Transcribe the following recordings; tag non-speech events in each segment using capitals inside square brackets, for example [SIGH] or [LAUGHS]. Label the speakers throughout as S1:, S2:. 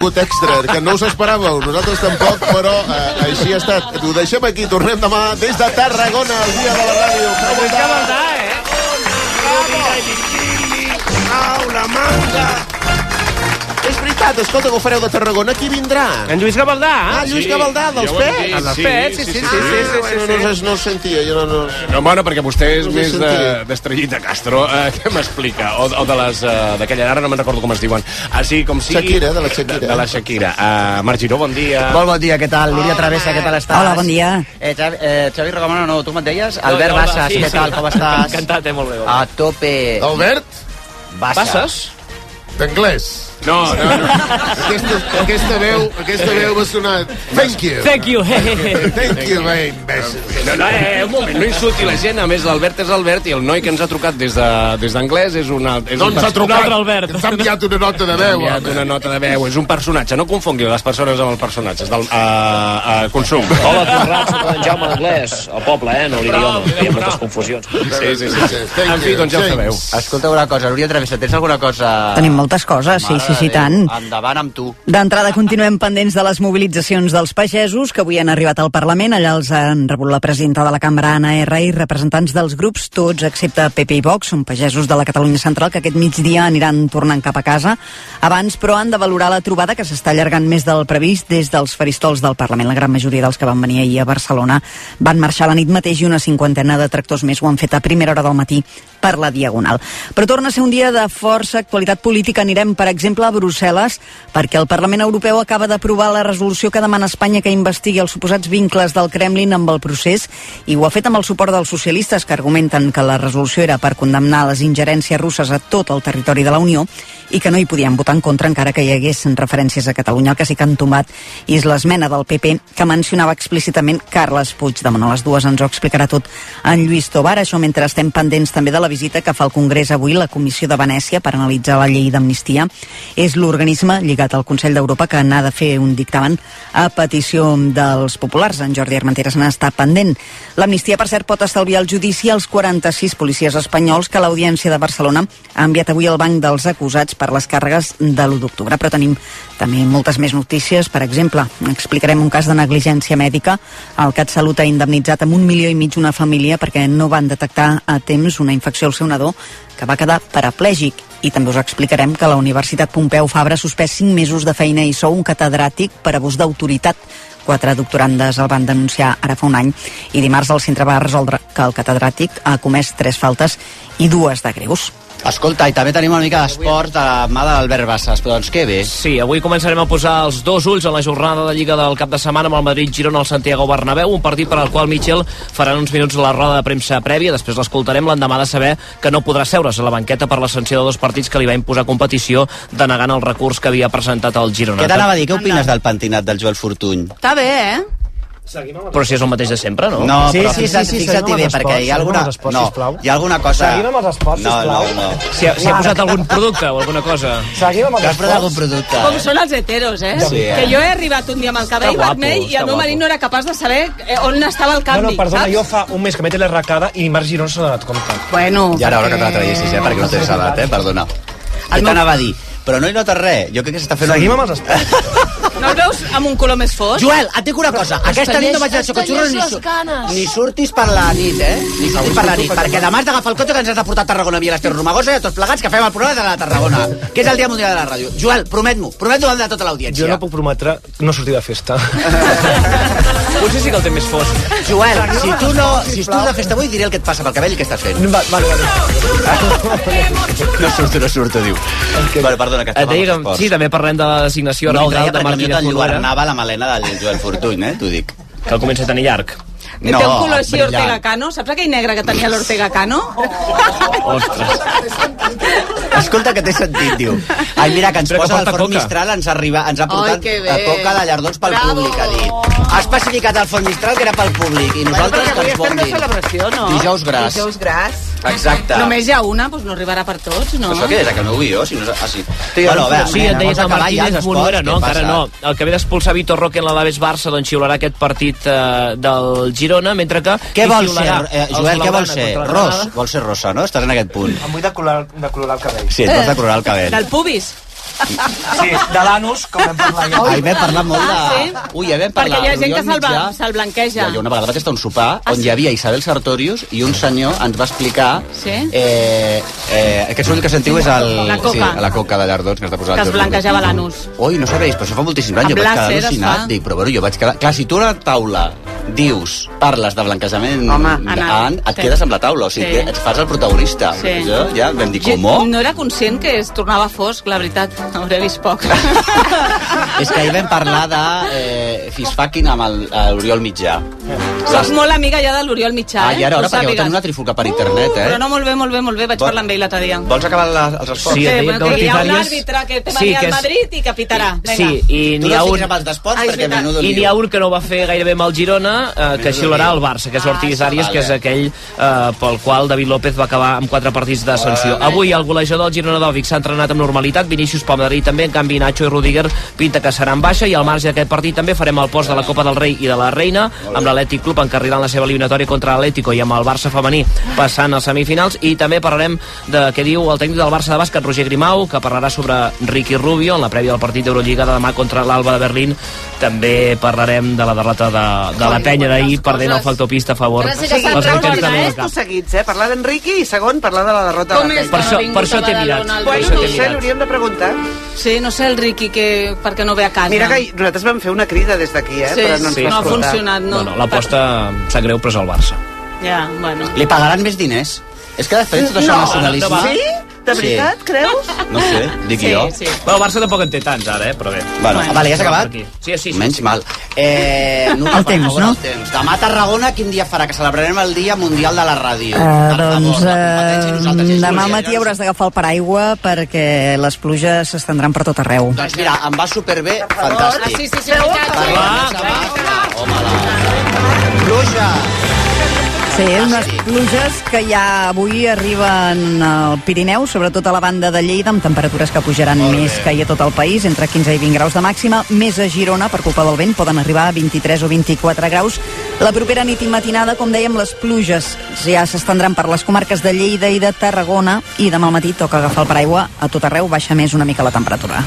S1: escut extra, que no us esperàveu, nosaltres tampoc, però eh, així ha estat. Ho deixem aquí, tornem demà des de Tarragona, el dia de la ràdio.
S2: Ah,
S1: Bravo, Au, la manga! És veritat, escolta, que ho fareu de Tarragona, qui vindrà?
S3: En Lluís Gavaldà, eh?
S1: Ah, Lluís Gavaldà, dels
S2: ja ho hem
S1: pets?
S2: dit.
S3: Els
S2: Sí,
S3: pets, sí,
S2: sí,
S3: sí, sí, sí, sí,
S2: sí,
S1: Ah,
S3: sí,
S1: bueno, no, no, no sentia, jo no... no.
S2: No, bueno, perquè vostè és
S1: No sé
S2: més de-
S1: sentir.
S2: d'Estrellita de, Castro. Uh, [LAUGHS] què m'explica? O, o de les... Uh, d'aquella, ara no me'n recordo com es diuen. Així com sigui...
S1: Shakira, de la Shakira.
S2: De, de la Shakira. Uh, Marc Giró, bon dia.
S4: Molt bon dia, què tal? Núria Travessa, què tal estàs?
S5: Hola, bon dia.
S4: Eh, Xavi, eh, Xavi Rogomano, no, tu me'n deies?
S3: No,
S4: Albert
S3: no, hola,
S4: Bassas,
S3: sí,
S4: què
S3: sí.
S4: tal, com estàs?
S3: Encantat, eh? Molt bé.
S4: A tope.
S1: Albert,
S4: Bassas.
S1: d'anglès.
S2: No, no, no.
S1: Aquesta, aquesta veu, aquesta veu m'ha sonat. Thank you.
S3: Thank you. Hey, hey, hey.
S1: Thank you, my imbècil.
S2: no, no eh, un moment, no insulti la gent. A més, l'Albert és l'Albert i el noi que ens ha trucat des de- des d'anglès de, és un... al- És
S1: No
S2: un
S1: ens ha
S2: pers-
S3: Un
S1: trucat.
S3: altre Albert.
S1: Ens ha enviat una nota de
S2: Ha
S1: veu.
S2: enviat una nota de veu, és un personatge. No confongui les persones amb els personatges del uh, uh, consum.
S6: Hola, Conrad, sóc en Jaume d'Anglès, al poble, eh, no l'idioma, hi ha moltes confusions.
S2: Sí, sí, sí.
S1: Thank
S2: En fi,
S1: you,
S2: doncs ja ho
S1: James.
S2: sabeu.
S4: Escolta una cosa, Núria Travessa, tens alguna cosa...
S5: Tenim moltes coses, sí, sí, sí,
S4: Mare de
S5: tant.
S4: Déu, Endavant amb tu.
S5: D'entrada, continuem pendents de les mobilitzacions dels pagesos, que avui han arribat al Parlament. Allà els han rebut la presidenta de la cambra, Anna R, i representants dels grups, tots excepte PP i Vox. Són pagesos de la Catalunya Central que aquest migdia aniran tornant cap a casa. Abans, però, han de valorar la trobada que s'està allargant més del previst des dels faristols del Parlament. La gran majoria dels que van venir ahir a Barcelona van marxar la nit mateix i una cinquantena de tractors més ho han fet a primera hora del matí per la Diagonal. Però torna a ser un dia de força actualitat política. Anirem, per exemple, a Brussel·les, perquè el Parlament Europeu acaba d'aprovar la resolució que demana a Espanya que investigui els suposats vincles del Kremlin amb el procés i ho ha fet amb el suport dels socialistes que argumenten que la resolució era per condemnar les ingerències russes a tot el territori de la Unió i que no hi podien votar en contra encara que hi haguessin referències a Catalunya. El que sí que han tomat és l'esmena del PP que mencionava explícitament Carles Puigdemont. A les dues ens ho explicarà tot en Lluís Tobar. Això mentre estem pendents també de la visita que fa al Congrés avui la Comissió de Venècia per analitzar la llei d'amnistia. És l'organisme lligat al Consell d'Europa que n'ha de fer un dictamen a petició dels populars. En Jordi Armenteres n'està pendent. L'amnistia, per cert, pot estalviar el judici als 46 policies espanyols que l'Audiència de Barcelona ha enviat avui al banc dels acusats per les càrregues de l'1 d'octubre. Però tenim també moltes més notícies. Per exemple, explicarem un cas de negligència mèdica. El CatSalut ha indemnitzat amb un milió i mig una família perquè no van detectar a temps una infecció al seu nadó que va quedar paraplègic. I també us explicarem que la Universitat Pompeu Fabra ha suspès 5 mesos de feina i sou un catedràtic per abús d'autoritat. Quatre doctorandes el van denunciar ara fa un any i dimarts el centre va resoldre que el catedràtic ha comès tres faltes i dues de greus.
S4: Escolta, i també tenim una mica d'esport de la mà d'Albert Bassas, però doncs que bé.
S3: Sí, avui començarem a posar els dos ulls a la jornada de Lliga del cap de setmana amb el Madrid-Girona al Santiago Bernabéu, un partit per al qual Mitchell farà en uns minuts la roda de premsa prèvia, després l'escoltarem l'endemà de saber que no podrà seure's a la banqueta per la sanció de dos partits que li va imposar competició denegant el recurs que havia presentat el Girona.
S4: Què t'anava a dir? Què opines del pentinat del Joel Fortuny?
S7: Està bé, eh?
S3: Però si és el mateix de sempre, no?
S4: No,
S8: Sí,
S4: però
S8: sí, sí,
S4: fixa't,
S8: sí,
S4: fixa't
S8: seguim amb
S4: bé,
S8: els
S4: perquè hi
S8: esports,
S4: ha alguna...
S8: seguim amb els esports,
S4: no,
S8: sisplau.
S4: hi ha alguna cosa...
S8: Seguim amb els esports,
S4: no,
S8: sisplau.
S4: No, no,
S3: Si ha, si ha posat algun producte o alguna cosa.
S8: Seguim amb
S4: no.
S8: els
S4: Has posat algun
S8: esports?
S4: producte?
S7: Com són els heteros, eh?
S4: Sí, eh?
S7: Que jo he arribat un dia amb el cabell
S3: Està guapo,
S7: vermell i
S3: està
S7: el meu marit
S3: guapo.
S7: no era capaç de saber eh, on estava el
S8: No,
S7: canvi,
S8: no, perdona,
S7: saps?
S8: jo fa un mes que m'he telerracada i Marc Giró no s'ha donat compte.
S7: Bueno,
S4: Ja era hora que te la traguessis, eh? Perquè no tens edat, eh? Perdona. Què
S7: meu-
S4: t'anava a dir? Però no hi notes res. Jo crec que s'està fent... un-
S8: Seguim amb els esports.
S7: No el veus amb un color més fosc?
S4: Joel, et dic una cosa. Aquesta nit no vaig al xocotxurros ni, sur ni surtis per la nit, eh? Ni surtis per la nit, perquè demà has d'agafar el cotxe que ens has de portar a Tarragona via l'Ester Romagosa i a eh? tots plegats que fem el programa de la Tarragona, que és el Dia Mundial de la Ràdio. Joel, promet-m'ho, promet-ho davant de tota
S8: Jo
S4: l'audiència.
S8: no puc prometre no sortir de festa.
S3: Potser sí que el té més fosc.
S4: Joel, si tu no, si tu de festa avui, diré el que et passa pel cabell i què estàs fent.
S8: Va, vale, vale.
S4: No surto, no surto, diu. Vale, perdona, que
S3: Et
S4: estava
S3: deia
S4: amb els
S3: que, sí,
S4: esports.
S3: també parlem de la designació
S4: No, ho deia
S3: arbitral de
S4: perquè a mi
S3: Martínez
S4: te'n
S3: Folguera,
S4: lluernava la melena del Joel Fortuny, eh? T'ho dic.
S3: que el comença a tenir llarg.
S7: No, Té un color així
S4: brillant.
S7: Ortega Cano. Saps aquell negre que tenia l'Ortega Cano?
S3: Ostres.
S4: Escolta, que té sentit, diu. Ai, mira, que ens
S3: Però que
S4: posa el
S3: porta
S4: Fort
S3: coca.
S4: Mistral, ens, arriba, ens ha
S7: Ai,
S4: portat
S7: que bé.
S4: la coca de llardons pel
S7: Bravo.
S4: públic, ha dit. Ha especificat el Fort Mistral que era pel públic, i nosaltres que ens bon dir.
S7: celebració, no?
S4: Dijous gras. Dijous
S7: gras.
S4: Exacte.
S7: Només hi ha una, doncs no arribarà per tots, no?
S4: Però això què és, aquell meu guió? Si no és... Ah, sí. bueno, a veure,
S3: Sí, et deies
S4: vamos
S3: el
S4: a acabar ja els
S3: Martínez
S4: esports,
S3: Monera, no?
S4: què
S3: Encara
S4: passa?
S3: no. El que ve d'expulsar Vitor Roque en l'Alaves Barça doncs xiularà aquest partit eh, del Girona, mentre que...
S4: Què
S3: qui
S4: vol ser,
S3: xiularà?
S4: eh,
S3: El
S4: Joel, què
S3: Blaugrana
S4: vol ser?
S3: contra el
S4: Ros,
S3: Granada.
S4: vol ser rosa, no? Estàs en aquest punt.
S8: Em vull decolorar, decolorar el cabell.
S4: Sí, et vas decolorar el cabell.
S7: Eh. Del pubis.
S9: Sí, de l'anus, com vam parlar ja.
S4: Ai, vam parlar molt de...
S7: Ah, sí?
S4: Ui, ja vam parlar.
S7: Perquè hi ha gent
S4: Oriol
S7: que se'l va-
S4: Mitjà.
S7: se'l blanqueja.
S4: Ja, jo una vegada vaig estar a un sopar
S7: Ah,
S4: on
S7: sí?
S4: hi havia Isabel Sartorius i un senyor ens va explicar...
S7: Sí?
S4: Eh, eh, aquest soroll que sentiu és el...
S7: La coca.
S4: Sí, la coca de Llardons que has de posar...
S7: que
S4: al
S7: es
S4: Jordi.
S3: Mm.
S7: blanquejava l'anus.
S4: Ui, no sabéis, però això fa moltíssims anys.
S7: Amb
S4: Jo vaig quedar
S7: làser es
S4: al·lucinat.
S7: fa.
S4: Dic, però bueno, jo vaig quedar... Clar, si tu a la taula dius, parles de blanquejament
S7: Home,
S4: d'an, et
S7: sí.
S4: quedes amb la taula, o sigui,
S7: Sí.
S4: que et fas el protagonista.
S7: Sí.
S4: Jo ja vam dir, com?
S7: Jo No era conscient que es tornava fosc, la veritat. [LAUGHS] Hauré vist
S3: [LAUGHS]
S7: poc.
S4: És que ahir vam parlar de eh, fisfucking amb el- l'Oriol Mitjà.
S7: Soc molt amiga ja de l'Oriol Mitjà,
S4: Ah, i ara,
S7: eh?
S4: ara,
S7: Que ho
S4: perquè heu
S7: sàpigues.
S4: tenir una trifulca per internet, eh?
S7: Però no, molt bé, molt bé, molt bé. Vaig
S4: Vol-
S7: parlar amb ell l'altre dia.
S4: Vols acabar la, els esports?
S3: Sí,
S7: Sí,
S3: et deien
S7: bueno,
S3: que
S7: que hi ha un
S3: Ortizàries-
S7: àrbitre que té
S3: Sí,
S7: mania
S3: que
S7: al
S3: és-
S7: Madrid i que pitarà. Vinga.
S3: Sí, i
S4: Tu
S3: n'hi
S4: no
S3: ha
S4: els
S3: un...
S4: fiques amb els desports
S7: Ah, és
S4: perquè
S7: veritat.
S4: menudo
S3: I
S4: lío.
S3: n'hi ha un que no va fer gaire bé amb el Girona, eh, que xiularà el Barça, que és Ortiz
S4: Ah,
S3: Arias, que és
S4: vale.
S3: aquell eh, pel qual David López va acabar amb quatre partits de sanció. Avui el golejador del Girona d'Òvic s'ha entrenat amb normalitat, Vinícius Palmadrí també, en canvi Nacho i Rudiger pinta que seran baixa i al marge d'aquest partit també farem el post de la Copa del Rei i de la Reina, amb l'Atlètic Club encarrilant la seva eliminatòria contra l'Atlético i amb el Barça femení passant als semifinals i també parlarem de què diu el tècnic del Barça de bàsquet, Roger Grimau, que parlarà sobre Ricky Rubio en la prèvia del partit d'Eurolliga de demà contra l'Alba de Berlín. També parlarem de la derrota de, de la penya d'ahir perdent el factor pista a favor.
S10: Gràcies, que
S3: dels
S10: s'han
S3: vaquers de
S10: reunit, eh?
S3: Mallorca.
S9: Tots seguits, eh? Parlar d'Enriqui i segon, parlar de la derrota
S7: Com
S9: de
S7: és
S9: la
S7: que
S3: Per
S7: no
S3: això-
S7: ha vingut
S3: per això
S7: a
S3: t'he mirat.
S7: Badalona el
S3: Per
S9: Bueno,
S3: això
S9: no
S3: t'he
S9: ho
S7: Ricky?
S9: sé,
S3: mirat.
S9: l'hauríem de preguntar.
S7: Sí, no sé el Riqui que, per què no ve a casa.
S9: Mira que nosaltres vam fer una crida des d'aquí, eh?
S7: Sí,
S9: però no ens
S7: sí,
S9: vas
S7: no ha
S9: escoltar.
S7: funcionat. No,
S3: Bueno, l'aposta em sap greu, però és el Barça.
S7: Ja, bueno.
S4: Li pagaran més diners. És que després tot això
S9: No.
S4: nacionalisme...
S9: Sí? De veritat, creus?
S4: Sí. No sé, dic
S7: Sí,
S4: jo.
S7: sí.
S3: Bueno, el Barça tampoc en té tants ara, eh? però bé.
S4: Bueno,
S7: Bueno.
S4: vale, ja s'ha acabat?
S3: Aquí. Sí, sí, sí.
S4: Menys mal. Eh, no,
S5: El temps, no?
S4: El temps. Demà a Tarragona, quin dia farà? Que celebrarem el Dia Mundial de la Ràdio.
S5: Uh,
S4: Per
S5: doncs
S4: favor, la competència i nosaltres
S5: uh,
S4: és
S5: demà al
S4: exclusiva.
S5: matí hauràs d'agafar el paraigua perquè les pluges s'estendran per tot arreu.
S4: Doncs mira, em va superbé,
S10: Ah,
S4: fantàstic.
S10: sí, sí, sí, veritat.
S4: Parlem
S7: Ah,
S4: de sabà. Home, la... Pluja!
S5: Sí, unes pluges que ja avui arriben al Pirineu, sobretot a la banda de Lleida, amb temperatures que pujaran més que hi a tot el país, entre 15 i 20 graus de màxima. Més a Girona, per culpa del vent, poden arribar a 23 o 24 graus. La propera nit i matinada, com dèiem, les pluges ja s'estendran per les comarques de Lleida i de Tarragona i demà al matí toca agafar el paraigua a tot arreu, baixa més una mica la temperatura.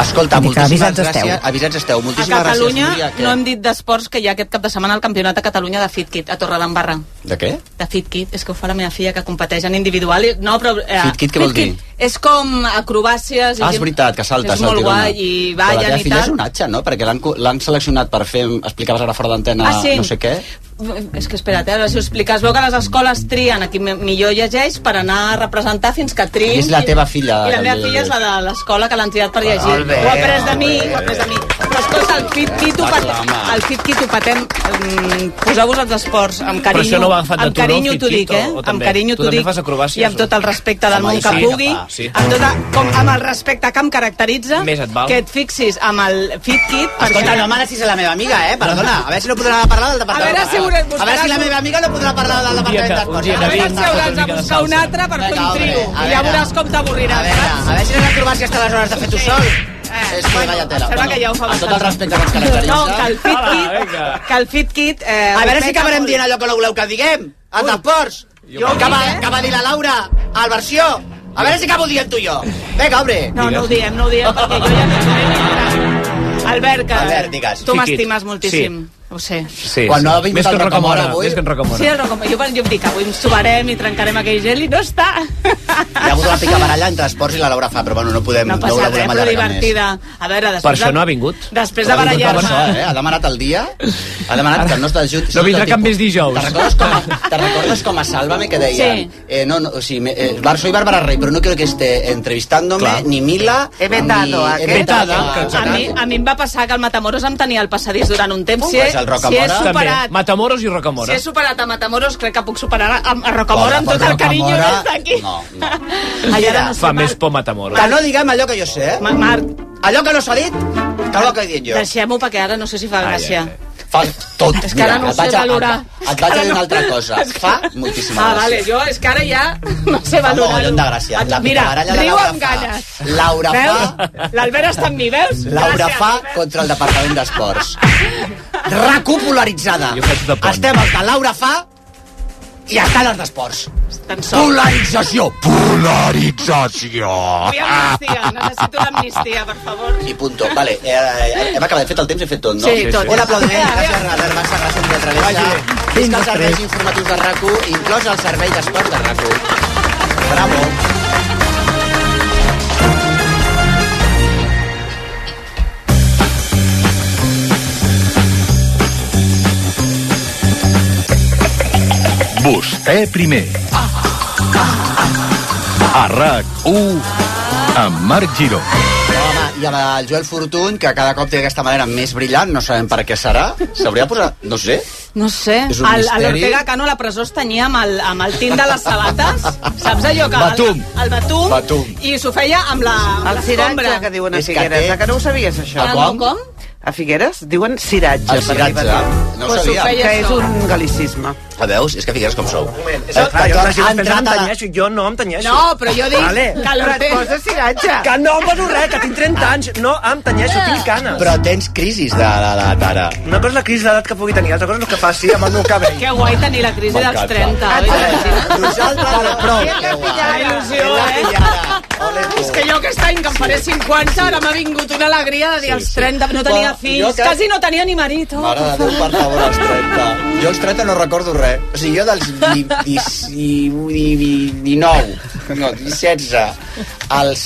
S4: Escolta,
S5: Vull dir que
S4: moltíssimes
S5: avisats esteu.
S4: gràcies. Avisats esteu.
S7: A
S4: Moltíssimes
S7: Catalunya
S4: gràcies, Núria. que-
S7: no hem dit d'esports que hi ha aquest cap de setmana el campionat a Catalunya de FitKit, a Torredembarra.
S4: De què?
S7: De FitKit, és que ho fa la meva filla que competeix en individual. i- No, però, eh,
S4: FitKit què vol dir?
S7: És com acrobàcies... i
S4: Ah, és
S7: gent-
S4: veritat, que salta,
S7: És molt guai i ballen i
S4: La teva filla és
S7: tal.
S4: un atxa, no? Perquè l'han co- l'han seleccionat per fer... Explicaves ara fora d'antena
S7: Ah, sí?
S4: no sé què.
S7: És que espera't, eh, a veure si ho expliques. Es Veu que les escoles trien a qui me- millor llegeix per anar a representar fins que triïn.
S4: I és la teva filla,
S7: I la meva
S4: també,
S7: filla és la de l'escola que l'han triat per llegir.
S4: Molt bé,
S7: ho ha après de mi,
S4: molt bé.
S7: ho ha après de mi. Però escolta, el FitKit ho,
S4: Va,
S7: pat...
S4: clama.
S7: el FitKit ho patem. Mm, Poseu-vos els esports amb
S3: Però
S7: carinyo.
S3: això no ho ha agafat de
S7: amb
S3: tu, no,
S7: carinyo t'ho
S3: FitKit,
S7: dic, eh?
S3: o- o
S7: amb
S3: també?
S7: carinyo
S3: Tu
S7: t'ho
S3: també
S7: dic.
S3: fas acròbacies,
S7: I amb
S3: o-
S7: tot el respecte del
S4: Home,
S7: món que
S4: sí,
S7: pugui.
S4: que fa, sí.
S7: Amb, tota, com, amb el respecte que em caracteritza.
S3: Més et val.
S7: Que et fixis amb el FitKit. perquè-
S4: Escolta, no manessis a la meva amiga, eh? Perdona, a veure si no podrà parlar del departament.
S7: A veure si hauré-
S4: A veure si la meva amiga no podrà parlar del
S3: dia
S4: departament
S3: que- un
S4: d'esports.
S3: dia
S7: A veure si hauràs de buscar un altre per fer
S4: Vinga,
S7: un
S4: home,
S7: trio.
S4: a
S7: I ja
S4: veure.
S7: veuràs com
S4: A
S7: t'avorriràs,
S4: veure,
S7: saps?
S4: a veure si les acrobàcies te les hores de fer tu sol.
S7: Eh,
S4: És que
S7: bueno,
S4: vaya tela.
S7: sembla que ja ho fa
S4: amb tot
S7: bastant.
S4: el respecte que ens
S7: [LAUGHS]
S4: caracteritza.
S7: No, que el
S9: Ah,
S7: FitKit... Que el FitKit... Eh,
S4: A veure
S7: ho
S4: si
S7: peta
S4: acabarem
S7: molt.
S4: dient allò que no voleu que diguem. Els esports. Jo, que, va, que va dir la Laura al versió. A veure si acabo dient tu i jo. Vinga, obre.
S7: No, no ho diem, no ho diem, perquè jo ja no sé. Albert, que
S4: Albert, digues.
S7: tu
S3: Fiquit.
S7: m'estimes moltíssim. Ho sé.
S3: Sí,
S4: Quan
S3: sí.
S4: no ha vingut
S3: més que
S4: el
S3: en Rocamora,
S4: Rocamora avui.
S3: més que en Rocamora.
S7: Sí, el Rocamora. Jo, jo em dic, avui ens trobarem i trencarem aquell gel i no està.
S4: Hi ha hagut una picabaralla entre esports i la Laura fa, però bueno, no podem...
S7: No
S4: la
S7: passa res, eh,
S4: volem
S7: però
S4: allargar més.
S7: divertida. A veure, després...
S3: Per això
S7: de-
S3: no ha vingut.
S7: Després
S4: Ha
S7: de
S4: vingut per
S7: barallar-me...
S4: això, eh? Ha demanat el dia, ha demanat que no es t'ajut...
S3: No vindrà cap més dijous.
S4: Te'n recordes, com a, te recordes com a Sálvame que deien... Sí.
S7: Sí.
S4: Eh, no, no, o sigui, me, eh, Bar, soy Bárbara Rey, però no quiero que esté entrevistándome
S3: Clar.
S4: ni Mila...
S9: He vetado a
S4: ni- he
S9: aquest.
S4: vetado
S3: Vetada, que ens
S7: A mi, a mi em va passar que el Matamoros em tenia al passadís durant un temps. Si he,
S4: és
S7: si
S4: el
S7: he
S4: Oh, Rocamora.
S3: També,
S7: superat
S3: Matamoros i
S7: Si
S3: Rocamora.
S7: he superat a Matamoros, crec que puc superar a, a
S4: Pobre,
S7: Rocamora amb tot
S4: pobre
S7: el carinyo
S4: Rocamora.
S7: des d'aquí.
S4: No, no.
S7: [LAUGHS] Allà
S4: Mira,
S7: no sé,
S3: Fa
S7: Marc.
S3: més por Matamoros.
S4: Que no diguem allò que jo sé, eh?
S7: Ma- Marc,
S4: Allò que no s'ha dit, que no que he dit jo.
S7: deixem-ho perquè ara no sé si fa gràcia.
S4: Fa tot.
S7: És que ara no ho
S4: et vaig
S7: sé
S4: a-
S7: valorar.
S4: Et, et vaig a dir una altra
S7: [LAUGHS]
S4: cosa. Fa moltíssima
S7: Ah,
S4: gràcia.
S7: vale, jo és que ara ja no sé
S4: Fa
S7: valorar-ho.
S4: mogollon de gràcia. La
S7: Mira,
S4: picabaralla de
S7: riu
S4: Laura
S7: amb
S4: fa.
S7: ganes.
S4: Laura fa.
S7: veus? L'Albert està amb mi, veus?
S4: Laura
S7: Gràcies,
S4: fa
S7: Albert.
S4: contra el Departament d'Esports. Recopularitzada.
S3: Jo faig de pont.
S4: Estem els de Laura fa i estades d'esports.
S7: Tan sol.
S4: Polarització.
S1: Polarització.
S7: Vull amnistia, necessito l'amnistia, per favor.
S4: I punto. Vale, eh, eh, hem acabat, hem fet el temps, hem fet tot, no?
S7: Sí, Sí, sí, tot. sí.
S4: Un aplaudiment,
S7: Adéu.
S4: gràcies, Radar Barça, gràcies per travessa. Fins als serveis informatius de RAC1, inclòs el servei d'esport de RAC1. Bravo.
S10: Vostè primer. A RAC1 amb Marc Giró.
S4: Home, i amb el Joel Fortuny, que cada cop té aquesta manera més brillant, no sabem per què serà, s'hauria posat... No sé.
S7: No sé,
S4: És un
S7: al, a
S4: misteri.
S7: l'Ortega Cano a la presó es tenia amb el, amb el tint de les
S4: [LAUGHS]
S7: sabates, saps allò que...
S10: Batum.
S7: El, el batum,
S4: Batum.
S7: i s'ho feia amb la amb
S9: El ciratge
S7: l'escombra.
S9: que diuen a
S4: És que
S9: Figueres.
S4: té-
S9: Ah, que no ho sabies, això?
S7: Ah, no, com?
S9: A Figueres diuen ciratge.
S4: El
S9: per
S4: ciratge.
S9: arribar-hi.
S4: No ho
S7: Pues ho
S4: sabíem.
S7: feia-
S9: Que és un galicisme.
S4: Ah, veus? És que Figueres com sou. Eh,
S8: És el, clar, jo la gent
S4: Ha
S8: es pensa
S4: entrat
S8: que
S4: a la-
S8: em tenyeixo, jo no em tenyeixo.
S7: No, però jo dic
S8: Vale.
S7: que
S9: Però et
S7: l'Ortega...
S9: poses ciratge.
S8: Que no em poso res, que tinc 30 anys, no em tenyeixo, tinc canes.
S4: Però tens crisis de, de, de cara.
S8: Una cosa és la crisi d'edat que pugui tenir, altra cosa és el que faci amb el meu cabell.
S7: Que guai tenir la crisi dels 30, oi?
S4: Nosaltres, però...
S7: La il·lusió, eh? És que jo aquest any que em faré 50, ara m'ha vingut una alegria de dir als 30, no tenia
S4: Bueno, jo
S7: fills,
S4: que-
S7: quasi no tenia ni marit. Oh,
S4: Mare de Déu, per favor, als 30. Jo als 30 no recordo res. O sigui, jo dels di, di, di, di, di, 19, no, 16, als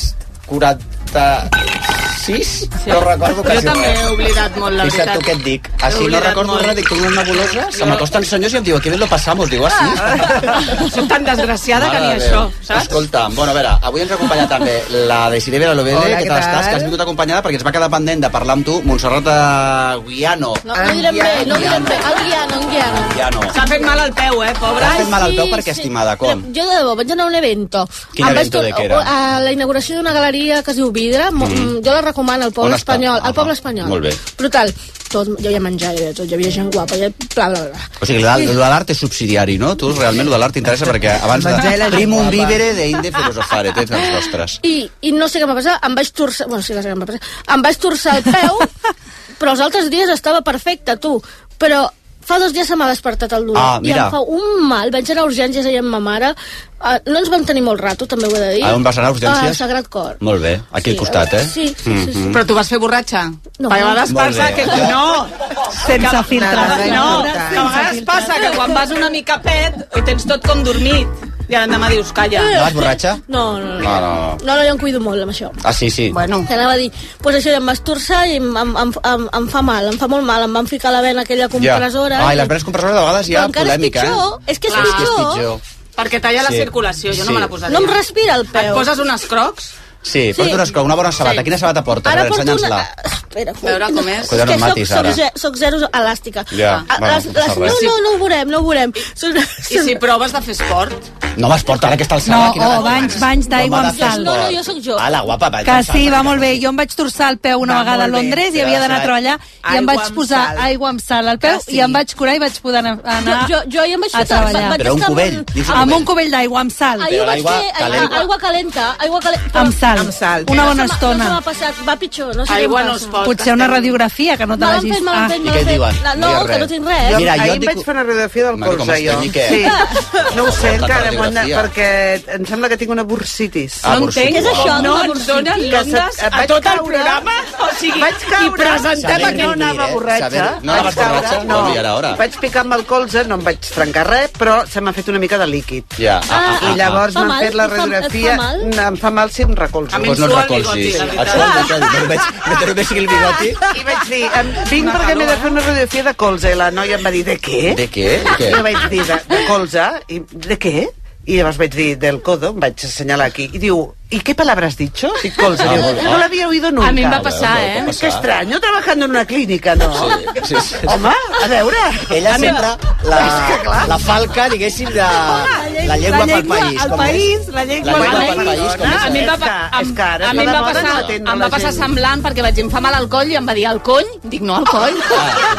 S4: 46, no recordo
S7: jo
S4: quasi
S7: també
S4: res.
S7: he oblidat molt, la
S4: Fixa't tu què
S7: veritat.
S4: et dic.
S7: He
S4: Així no
S7: oblidat
S4: recordo
S7: molt.
S4: res, dic, tinc una nebulosa,
S7: [LAUGHS]
S4: se m'acosten senyors i em diu, aquí bien lo pasamos, diu, "Ah, així.
S7: Ah, Soc tan desgraciada que ni això, saps?
S4: Escolta, bueno, a veure, avui ens acompanya també la Desiree Vera Lovede,
S9: Hola,
S4: que
S9: què
S4: tal
S9: tal?
S4: estàs, que has vingut acompanyada perquè ens va quedar pendent de parlar amb tu, Montserrat de Guiano.
S11: No, no direm bé, no direm bé. El guiano, un guiano.
S4: Guiano.
S7: S'ha fet mal al peu, eh, pobra?
S4: T'has fet mal al peu perquè, estimada, com?
S11: Però Jo de debò vaig anar a un evento.
S4: Quin
S11: Em vaig
S4: evento de
S11: to-
S4: què era?
S11: A la inauguració d'una galeria que es diu Vidre. Mm. Jo la recomano al
S4: On
S11: poble
S4: està?
S11: espanyol.
S4: Ah,
S11: Al poble
S4: va.
S11: espanyol.
S4: Molt bé.
S11: Brutal. Tot, jo hi havia menjar, i de tot, hi havia gent guapa, hi havia bla, bla, bla.
S4: O sigui, la- lo de l'art és subsidiari, no? Tu realment lo de l'art t'interessa perquè abans de... Primum vivere de inde filosofare, tens els nostres.
S11: I, I no sé què em va passar, em vaig torçar... Bueno, sí que sé què em va passar. Em vaig torçar el peu,
S4: [LAUGHS]
S11: però els altres dies estava perfecte, tu. Però fa dos dies se m'ha despertat el dolor.
S4: Ah, mira.
S11: I em fa un mal. Vaig anar a urgències ahir amb ma mare. Uh, no ens vam tenir molt rato, també ho he de dir.
S4: A Ah, on vas anar, a urgències?
S11: A Ah, Sagrat Cor.
S4: Molt bé, aquí al costat, eh?
S11: Sí, sí, sí. sí.
S7: Però tu vas fer borratxa? No.
S11: No.
S7: A vegades
S4: Molt
S7: passa
S4: bé.
S7: que... No!
S9: Sense filtre.
S7: No, que a vegades passa que quan vas una mica pet ho tens tot com dormit. I l'endemà dius, calla.
S4: No vas borratxa?
S11: No, no, no.
S4: No, no, no.
S11: No, no, jo em cuido molt amb això.
S4: Ah, sí, sí.
S7: Bueno,
S11: Que anava a dir, doncs pues això, ja em vas torçar i em, em, em, em, em fa mal, em fa molt mal, em van ficar la vena aquella compressora. eh?
S4: Ai, les venes compressores de vegades hi ha
S11: Però encara és
S4: polèmica,
S11: pitjor,
S4: eh?
S11: és que és
S4: És que és
S11: pitjor.
S4: pitjor.
S7: perquè talla la
S4: Sí.
S7: circulació, jo
S4: Sí.
S7: no me la posaria.
S11: No em respira el
S7: Et
S11: peu.
S7: poses unes crocs?
S4: Sí,
S11: Sí.
S4: pots donar esclar, una bona sabata.
S7: Sí.
S4: Quina sabata portes?
S11: Ara
S4: Ara
S11: porto
S4: Ensenya'ns-la. Doncs
S11: una... Ah, Espera,
S7: A veure com és.
S4: Cuidado,
S11: que
S4: no
S11: soc,
S4: matis,
S11: soc,
S4: ara.
S11: ze- soc zero elàstica.
S4: Ja,
S11: Ah,
S4: bueno,
S11: les,
S4: no passa
S11: les,
S4: res.
S11: no, no, no ho veurem, no ho veurem. Són,
S7: I si proves de fer esport?
S4: No vas portar ara aquesta alçada.
S12: No,
S4: quina
S12: o
S4: gana.
S12: banys- banys d'aigua
S4: Home,
S12: amb
S4: de fer
S12: sal.
S11: No, no, jo sóc jo.
S4: Ala, guapa, banys
S12: Que
S4: amb sal.
S12: sí, va molt bé. Jo em vaig torçar el peu una
S9: Va
S12: vegada a
S9: molt bé.
S12: Londres i havia d'anar a treballar i em
S9: Aigua
S12: vaig
S9: amb
S12: posar
S9: sal.
S12: aigua amb sal al peu
S9: Que sí.
S12: i em vaig curar i vaig poder anar
S11: Jo, jo, jo ahir em vaig
S12: a
S11: fixar, va-
S12: treballar.
S11: vaig
S4: Però un
S11: estar
S4: cubell,
S11: molt-
S4: dins un
S12: amb
S4: cubell.
S12: un cubell d'aigua amb sal.
S11: Ahir ho
S4: Però
S11: vaig
S4: l'aigua
S11: fer, aigua,
S4: calenta.
S11: aigua calenta, aigua calenta.
S12: Amb sal.
S9: Amb sal.
S12: Una bona
S11: No se m'ha-
S12: estona.
S11: No se m'ha passat, va pitjor, no sé què em
S7: Aigua no
S11: passa.
S7: es pot.
S12: Potser una radiografia que no te
S11: Mal en
S12: l'hagis...
S11: fet, mal en fet,
S4: I
S11: mal en
S4: què et
S11: fet.
S4: diuen?
S11: La-
S4: No hi ha
S11: No, que
S4: res.
S11: no tinc res.
S9: Jo,
S4: Mira,
S9: Mira,
S4: jo
S9: ahir
S4: et
S9: em
S4: dic-
S9: vaig fer una radiografia del
S4: Mare, com
S9: colze,
S4: estem
S9: jo.
S4: i què?
S9: Sí. [LAUGHS] No ho sé,
S4: Tanta
S9: encara, m'ho han anat-
S4: radiografia.
S9: perquè em sembla que tinc una bursitis.
S4: Ah,
S7: no
S4: borsitis.
S7: entenc
S11: Què és això?
S7: No
S11: Una
S7: ens
S11: borsitis?
S7: donen
S9: Que se-
S7: l'ondes
S9: eh,
S7: a
S9: vaig
S7: tot el
S9: caure-
S7: programa? O sigui,
S9: Vaig caure.
S7: i presentem
S4: Saber
S7: aquí...
S9: no
S4: rendir,
S9: anava
S4: eh?
S9: borratxa.
S4: Saber- no
S9: Vaig
S4: anaves
S9: caure,
S4: borratxa?
S9: no.
S4: Vols dir ara, ara?
S9: I vaig picar amb el colze, no em vaig trencar res, però se m'ha fet una mica de líquid.
S4: Ja, ah, ah, ah,
S9: I llavors
S11: Fa
S9: m'han
S11: mal?
S9: fet la
S11: Et fa- et fa
S9: radiografia.
S11: mal?
S9: Mm, Em fa mal si em recolzo.
S7: A mi
S4: Doncs no
S7: Sua
S4: et
S7: el
S4: recolzis.
S7: bigoti, la
S4: Et
S7: veritat.
S4: sua el bigoti. No et veig- no et veig el bigoti.
S9: I vaig dir, em, vinc perquè m'he de fer una radiografia de colze. I la noia em va dir, de què?
S4: eh? De què? De què?
S9: Jo vaig dir, de, de colze. I de què? I llavors vaig dir, del codo, em vaig assenyalar aquí. I diu, ¿y qué palabra has dicho? I colze,
S4: Ah, molt
S9: diu,
S4: bé.
S9: no l'havia oído nunca.
S7: A mi em va passar,
S4: Molt bé,
S7: eh?
S4: pot
S9: Qué
S4: passar.
S9: extraño, trabajando en una clínica, ¿no?
S4: Sí, sí, sí.
S9: Home, a veure.
S4: Ella
S9: A mi-
S4: sempre
S9: [LAUGHS]
S4: la, la falca, diguéssim, de, la
S9: la
S4: llengua, pel país.
S9: al
S4: com és?
S9: país, la llengua,
S4: La
S9: al
S4: llengua pel
S9: país.
S4: país, com
S9: Ah,
S4: és?
S7: A mi em va, pa-
S9: És
S7: em,
S9: que ara
S7: a mi em va
S9: tota la moda
S7: passar,
S9: no atén a
S7: em
S9: la
S7: va passar
S9: gent.
S7: semblant perquè vaig em fa mal al coll i em va dir al cony. Dic, no, al coll.
S4: Ah,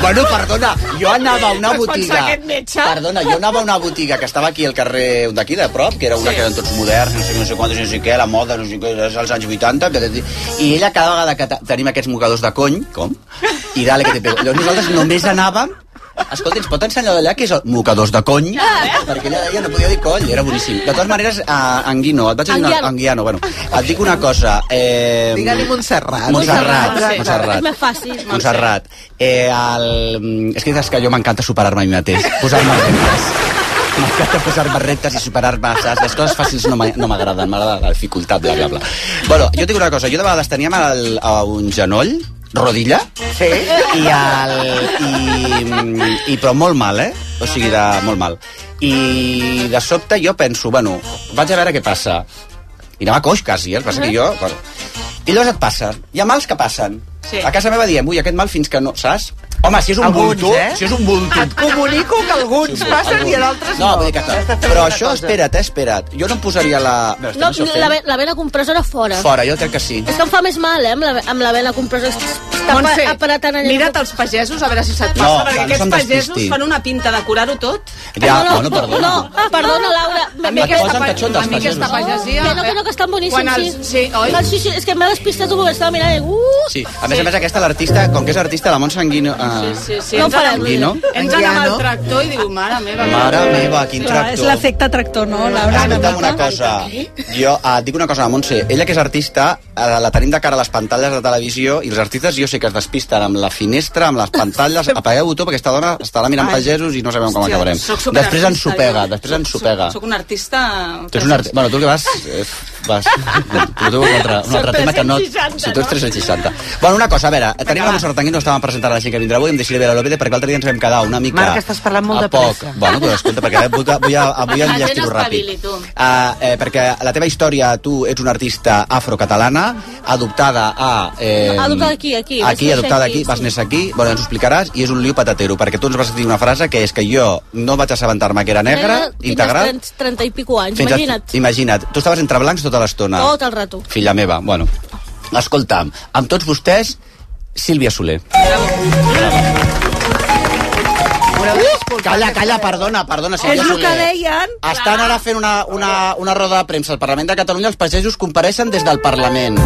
S4: Bueno, perdona, jo anava a una
S7: Es pot ser
S4: botiga...
S7: aquest metge?
S4: Perdona, jo anava a una botiga que estava aquí al carrer d'aquí, de prop, que era una sí. que eren tots moderns, no sé, no sé quantos, no sé què, la moda, no sé què, és als anys 80... Que, I ella cada vegada que ta- tenim aquests mocadors de cony, com? I dale que te pego. Llavors nosaltres només anàvem Escolta, ens pot ensenyar d'allà que és el mocadors de cony? Perquè ella deia no podia dir coll, era boníssim. De totes maneres, uh, Anguino, et vaig a dir una...
S13: Anguiano.
S4: Anguiano, bueno. Et dic una cosa. Eh,
S13: Digue-li Montserrat.
S4: Montserrat,
S13: Montserrat, sí.
S4: Montserrat.
S13: És més fàcil.
S4: Montserrat. Doncs Eh, el... mm, És que és que jo m'encanta superar-me a mi mateix, posar-me reptes. M'encanta posar-me reptes i superar-me, saps? Les coses fàcils no m'ha- no m'agraden, m'agrada la dificultat, bla, bla, bla. Bueno, jo et dic una cosa, jo de vegades tenia mal al- a un genoll, rodilla,
S9: Sí.
S4: i, el, i, i però molt mal, eh? O sigui, de, molt mal. I de sobte jo penso, bueno, vaig a veure què passa. I anava coix, quasi, eh? El que passa que jo... Bueno. I llavors et passa. Hi ha mals que passen.
S9: Sí.
S4: A casa meva diem, ui, aquest mal fins que no... Saps? Home, si és un
S9: Alguns,
S4: bulto...
S9: eh?
S4: Si és un bulto...
S9: Et comunico que alguns
S4: Sí,
S9: passen
S4: algun.
S9: i d'altres
S4: no.
S9: no.
S4: vull dir que
S9: Has de
S4: no.
S9: fer
S4: Però
S9: alguna
S4: això,
S9: cosa.
S4: espera't, eh, espera't. Jo no em posaria la... No,
S11: No, la, ve- la vena compressora fora.
S4: Fora, jo crec que sí.
S11: És que em fa més mal, eh, amb la, amb la vena compressora. Està
S7: Montse,
S11: Montse, apretant allà.
S7: Mira't els pagesos, a veure si se't
S4: No,
S7: passa,
S4: clar,
S7: perquè
S4: no
S7: aquests
S4: se'm despisti.
S7: pagesos fan una pinta de curar-ho tot.
S4: Ja, no, no, perdona.
S11: No, perdona, Laura.
S7: A mi
S4: Et
S7: aquesta
S4: posen
S7: pa-
S4: tatxons, els
S7: a mi aquesta
S4: pagesos.
S7: pagesia...
S11: Que no, que no, que estan
S7: Quan
S11: boníssims,
S7: els-
S11: sí.
S7: Sí, oi?
S11: Ah, sí, sí, és que m'ha despistat un moment, estava mirant i... Uh!
S4: Sí, a més a més aquesta, l'artista, com que és artista, la Montse Anguino... Eh,
S7: Sí, sí,
S4: No
S7: ens
S4: farem.
S7: anem-
S4: Guino?
S7: Ens anem al tractor i diu, mare meva...
S4: Mare meva, quin
S12: Clar, és
S4: tractor.
S12: l'efecte tractor, no, Laura?
S4: Escolta'm una cosa. Jo eh, et dic una cosa, Montse. Ella, que és artista, eh, la tenim de cara a les pantalles de televisió i els artistes jo sé que es despisten amb la finestra, amb les pantalles.
S7: [LAUGHS]
S4: Apagueu-ho tot perquè aquesta dona estarà mirant
S7: Ai.
S4: pagesos i no sabem com
S7: Hòstia,
S4: acabarem.
S7: sóc superartista,
S4: Després ens supega,
S7: jo.
S4: després ens
S7: Sóc-
S4: supega.
S7: Sóc un artista...
S4: Tu ets un art... Bueno, tu el que
S7: [LAUGHS]
S4: vas... eh, vas... Tu tu un altre, un altre
S7: Sóc
S4: tema que no...
S7: 360,
S4: Si tu ets
S7: no?
S4: 360. Bueno, una cosa, a veure, tenim la Montserrat Anguino, estàvem presentant a la gent que vindrà avui, em deixaré veure l'Ovide perquè l'altre dia ens vam quedar una mica...
S9: Marc, estàs parlant molt
S4: a
S9: de
S4: poc.
S9: pressa.
S4: Bueno, però escolta, perquè avui, avui, avui em llestiro ràpid. Uh, eh, perquè la teva història, tu ets una artista afrocatalana, adoptada a... Eh,
S11: Adoptada aquí, aquí. Vaig
S4: Aquí,
S11: néixer
S4: adoptada
S11: aquí,
S4: aquí, vas
S11: sí.
S4: néixer aquí, bueno, ens ho explicaràs, i és un lío patatero, perquè tu ens vas dir una frase que és que jo no vaig assabentar-me que era negra,
S11: Fins als
S4: integral...
S11: 30, 30 i pico anys,
S4: fins a-
S11: imagina't.
S4: Imagina't, tu estaves entre blancs tota l'estona.
S11: Tot el rato.
S4: Filla meva, bueno. Escolta'm, amb tots vostès, Sílvia Soler. Calla, calla, perdona, perdona,
S12: És
S4: Sílvia
S12: el que
S4: Soler.
S12: deien...
S4: Estan ara fent una, una, una roda de premsa al Parlament de Catalunya, els pagesos compareixen des del Parlament.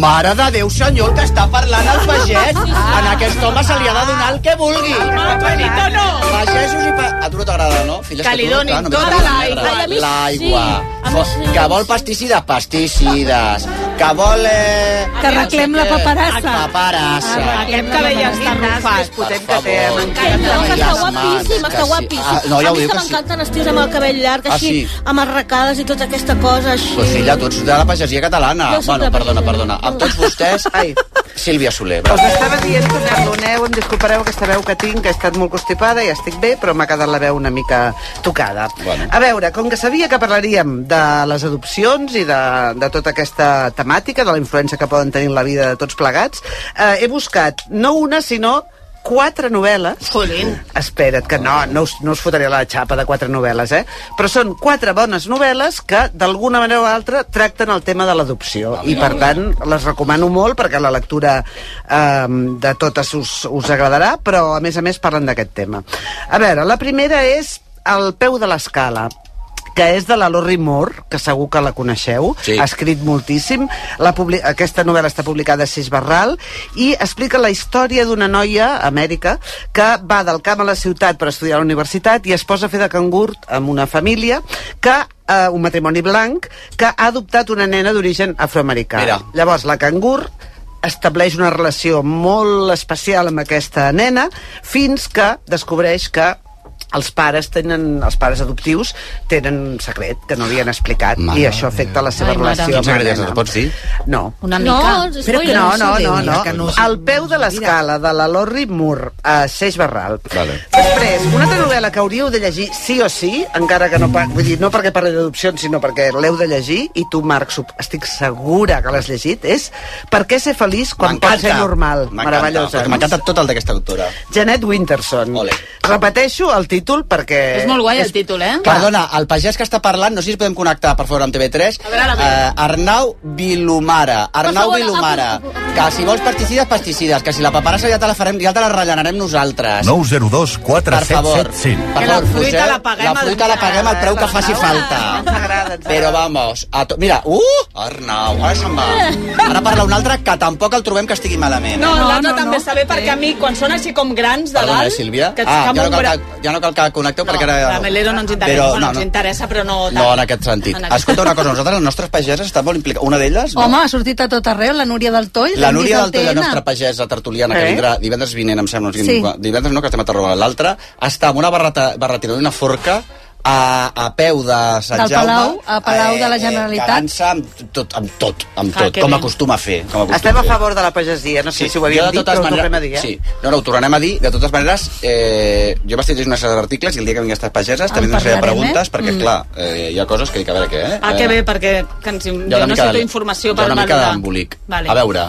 S4: Mare de Déu, senyor, el que està parlant el pagès. En aquest home se li ha de donar el que vulgui.
S7: Benito, no!
S4: Pagesos i pa... A tu no t'agrada, no? Filles,
S7: Que
S4: tu
S7: li
S4: no,
S7: donin
S4: clar, només
S7: tota
S4: t'agrada el
S7: l'aigua.
S4: negre.
S7: Ai, a mi sí.
S4: L'aigua. Fo- Que vol pesticides, pesticides. Que vol... Eh...
S12: Que arreglem la paperassa.
S4: Paperassa.
S7: Aquest cabell està rufat.
S9: Potent que té,
S11: Que no, que està
S4: Les
S11: guapíssim,
S4: mans,
S11: està
S4: que sí.
S11: guapíssim.
S4: Ah, no, ja
S11: a
S4: ho
S11: mi
S4: diu
S11: que
S4: que sí.
S11: m'encanten els tios amb el cabell llarg,
S4: Ah,
S11: així,
S4: sí.
S11: amb arracades i tota aquesta cosa, així.
S4: Pues filla, tu ets de la pagesia catalana.
S11: Jo soc
S4: Bueno,
S11: de
S4: perdona,
S11: pagesia.
S4: perdona. Amb tots vostès,
S9: Ai.
S4: Sílvia Soler.
S9: Us estava dient que perdoneu, em disculpareu aquesta veu que tinc, que he estat molt constipada i estic bé, però m'ha quedat la veu una mica tocada.
S4: Bueno.
S9: A veure, com que sabia que parlaríem de les adopcions i de, de tota aquesta temàtica, de la influència que poden tenir en la vida de tots plegats, eh, he buscat no una, sinó quatre novel·les.
S7: Jolín.
S9: Espera't, que no, no us, no us fotré la xapa de quatre novel·les, eh? Però són quatre bones novel·les que, d'alguna manera o altra, tracten el tema de l'adopció. I, per tant, les recomano molt perquè la lectura eh, de totes us, us agradarà, però, a més a més, parlen d'aquest tema. A veure, la primera és El peu de l'escala que és de la Lori Moore, que segur que la coneixeu,
S4: Sí.
S9: ha escrit moltíssim. La publi... Aquesta novel·la està publicada a Sis Barral i explica la història d'una noia, a Amèrica, que va del camp a la ciutat per estudiar a la universitat i es posa a fer de cangur amb una família que eh, un matrimoni blanc que ha adoptat una nena d'origen afroamericà.
S4: Mira.
S9: Llavors, la cangur estableix una relació molt especial amb aquesta nena fins que descobreix que els pares tenen els pares adoptius tenen un secret que no li han explicat
S4: Mare
S9: i això afecta la seva
S4: Ai, mare.
S9: relació
S4: Quin
S9: amb la
S4: secret és?
S9: nena.
S4: Ens pots dir?
S9: No.
S13: Una
S11: No,
S13: mica.
S11: Però que
S9: No, no,
S13: s'ho
S9: no,
S13: doni,
S9: no.
S13: que no s'ho-
S9: Al peu de l'escala de la Lorri Moore, a Seix Barral.
S4: Vale.
S9: Després, una altra novel·la que hauríeu de llegir sí o sí, encara que no, pa- vull dir, no perquè parli d'adopcions, sinó perquè l'heu de llegir, i tu, Marc, sup- estic segura que l'has llegit, és Per què ser feliç quan pot ser normal?
S4: M'encanta,
S9: Meravellosa.
S4: perquè M'encanta tot el d'aquesta autora.
S9: Janet Winterson.
S4: Ole.
S9: Repeteixo el, ti títol perquè...
S13: És molt guai el títol, eh?
S4: Perdona, el pagès que està parlant, no sé si podem connectar, per favor, amb TV3,
S13: A veure, a veure.
S4: eh, Arnau Vilomara. Arnau
S13: favor,
S4: Vilomara. Que si vols pesticides, pesticides. Que si la paperassa ja te la farem, ja te la rellenarem nosaltres.
S10: 902
S4: Per favor,
S10: 4777.
S4: per favor, poseu- la fruita la paguem al preu que faci falta. Però vamos, a to... Mira, uh, Arnau, ara se'n va. Ara parla un altre que tampoc el trobem que estigui malament.
S7: No, l'altre també està bé perquè a mi, quan són així com grans de
S4: Perdona,
S7: dalt...
S4: eh, Sílvia?
S7: Que
S4: Ah,
S7: ja
S4: ja no, cal que, ja no cal que connecteu perquè ara...
S7: La Melero no ens interessa,
S4: Però,
S7: però, no,
S4: no,
S7: ens
S4: no.
S7: interessa, però no tant.
S4: No, en aquest sentit.
S7: En aquest-
S4: Escolta una cosa, nosaltres, les nostres pageses, estan molt implicades. Una d'elles...
S12: Home, ha sortit a tot arreu, la Núria del Toll.
S4: La
S12: l'hem
S4: Núria
S12: vist al
S4: Dalto i la
S12: TN.
S4: nostra pagesa tertuliana,
S12: Eh?
S4: que vindrà divendres vinent, em sembla.
S12: Sí.
S4: Sí. Divendres no, que estem a Tarragona. L'altra està amb una barreta, barretina i una forca a, a peu de Sant
S12: Del
S4: Jaume.
S12: Palau, a Palau
S4: Eh,
S12: de la Generalitat.
S4: Cagant-se amb tot, amb tot, amb
S9: Ah,
S4: tot,
S9: que
S4: com
S9: bé.
S4: acostuma a fer. Com acostuma
S9: Estem a
S4: fer.
S9: favor de la pagesia, no sé si ho havíem
S4: Jo, de
S9: dit,
S4: totes
S9: però ho tornem a dir,
S4: maneres-
S9: eh?
S4: Sí. No, no, ho tornarem a dir. De totes maneres, eh, jo vaig llegir una sèrie d'articles i el dia que vinguin aquestes pageses també ens feia
S7: parlarem,
S4: preguntes,
S7: eh?
S4: perquè,
S7: Mm.
S4: clar, eh, hi ha coses que dic, a veure què, eh?
S7: Ah, que bé, perquè que ens, jo
S4: una
S7: no
S4: mica
S7: sé
S4: de-
S7: informació
S4: hi ha
S7: per
S4: una mica
S7: valorar.
S4: d'embolic.
S7: Vale.
S4: A veure,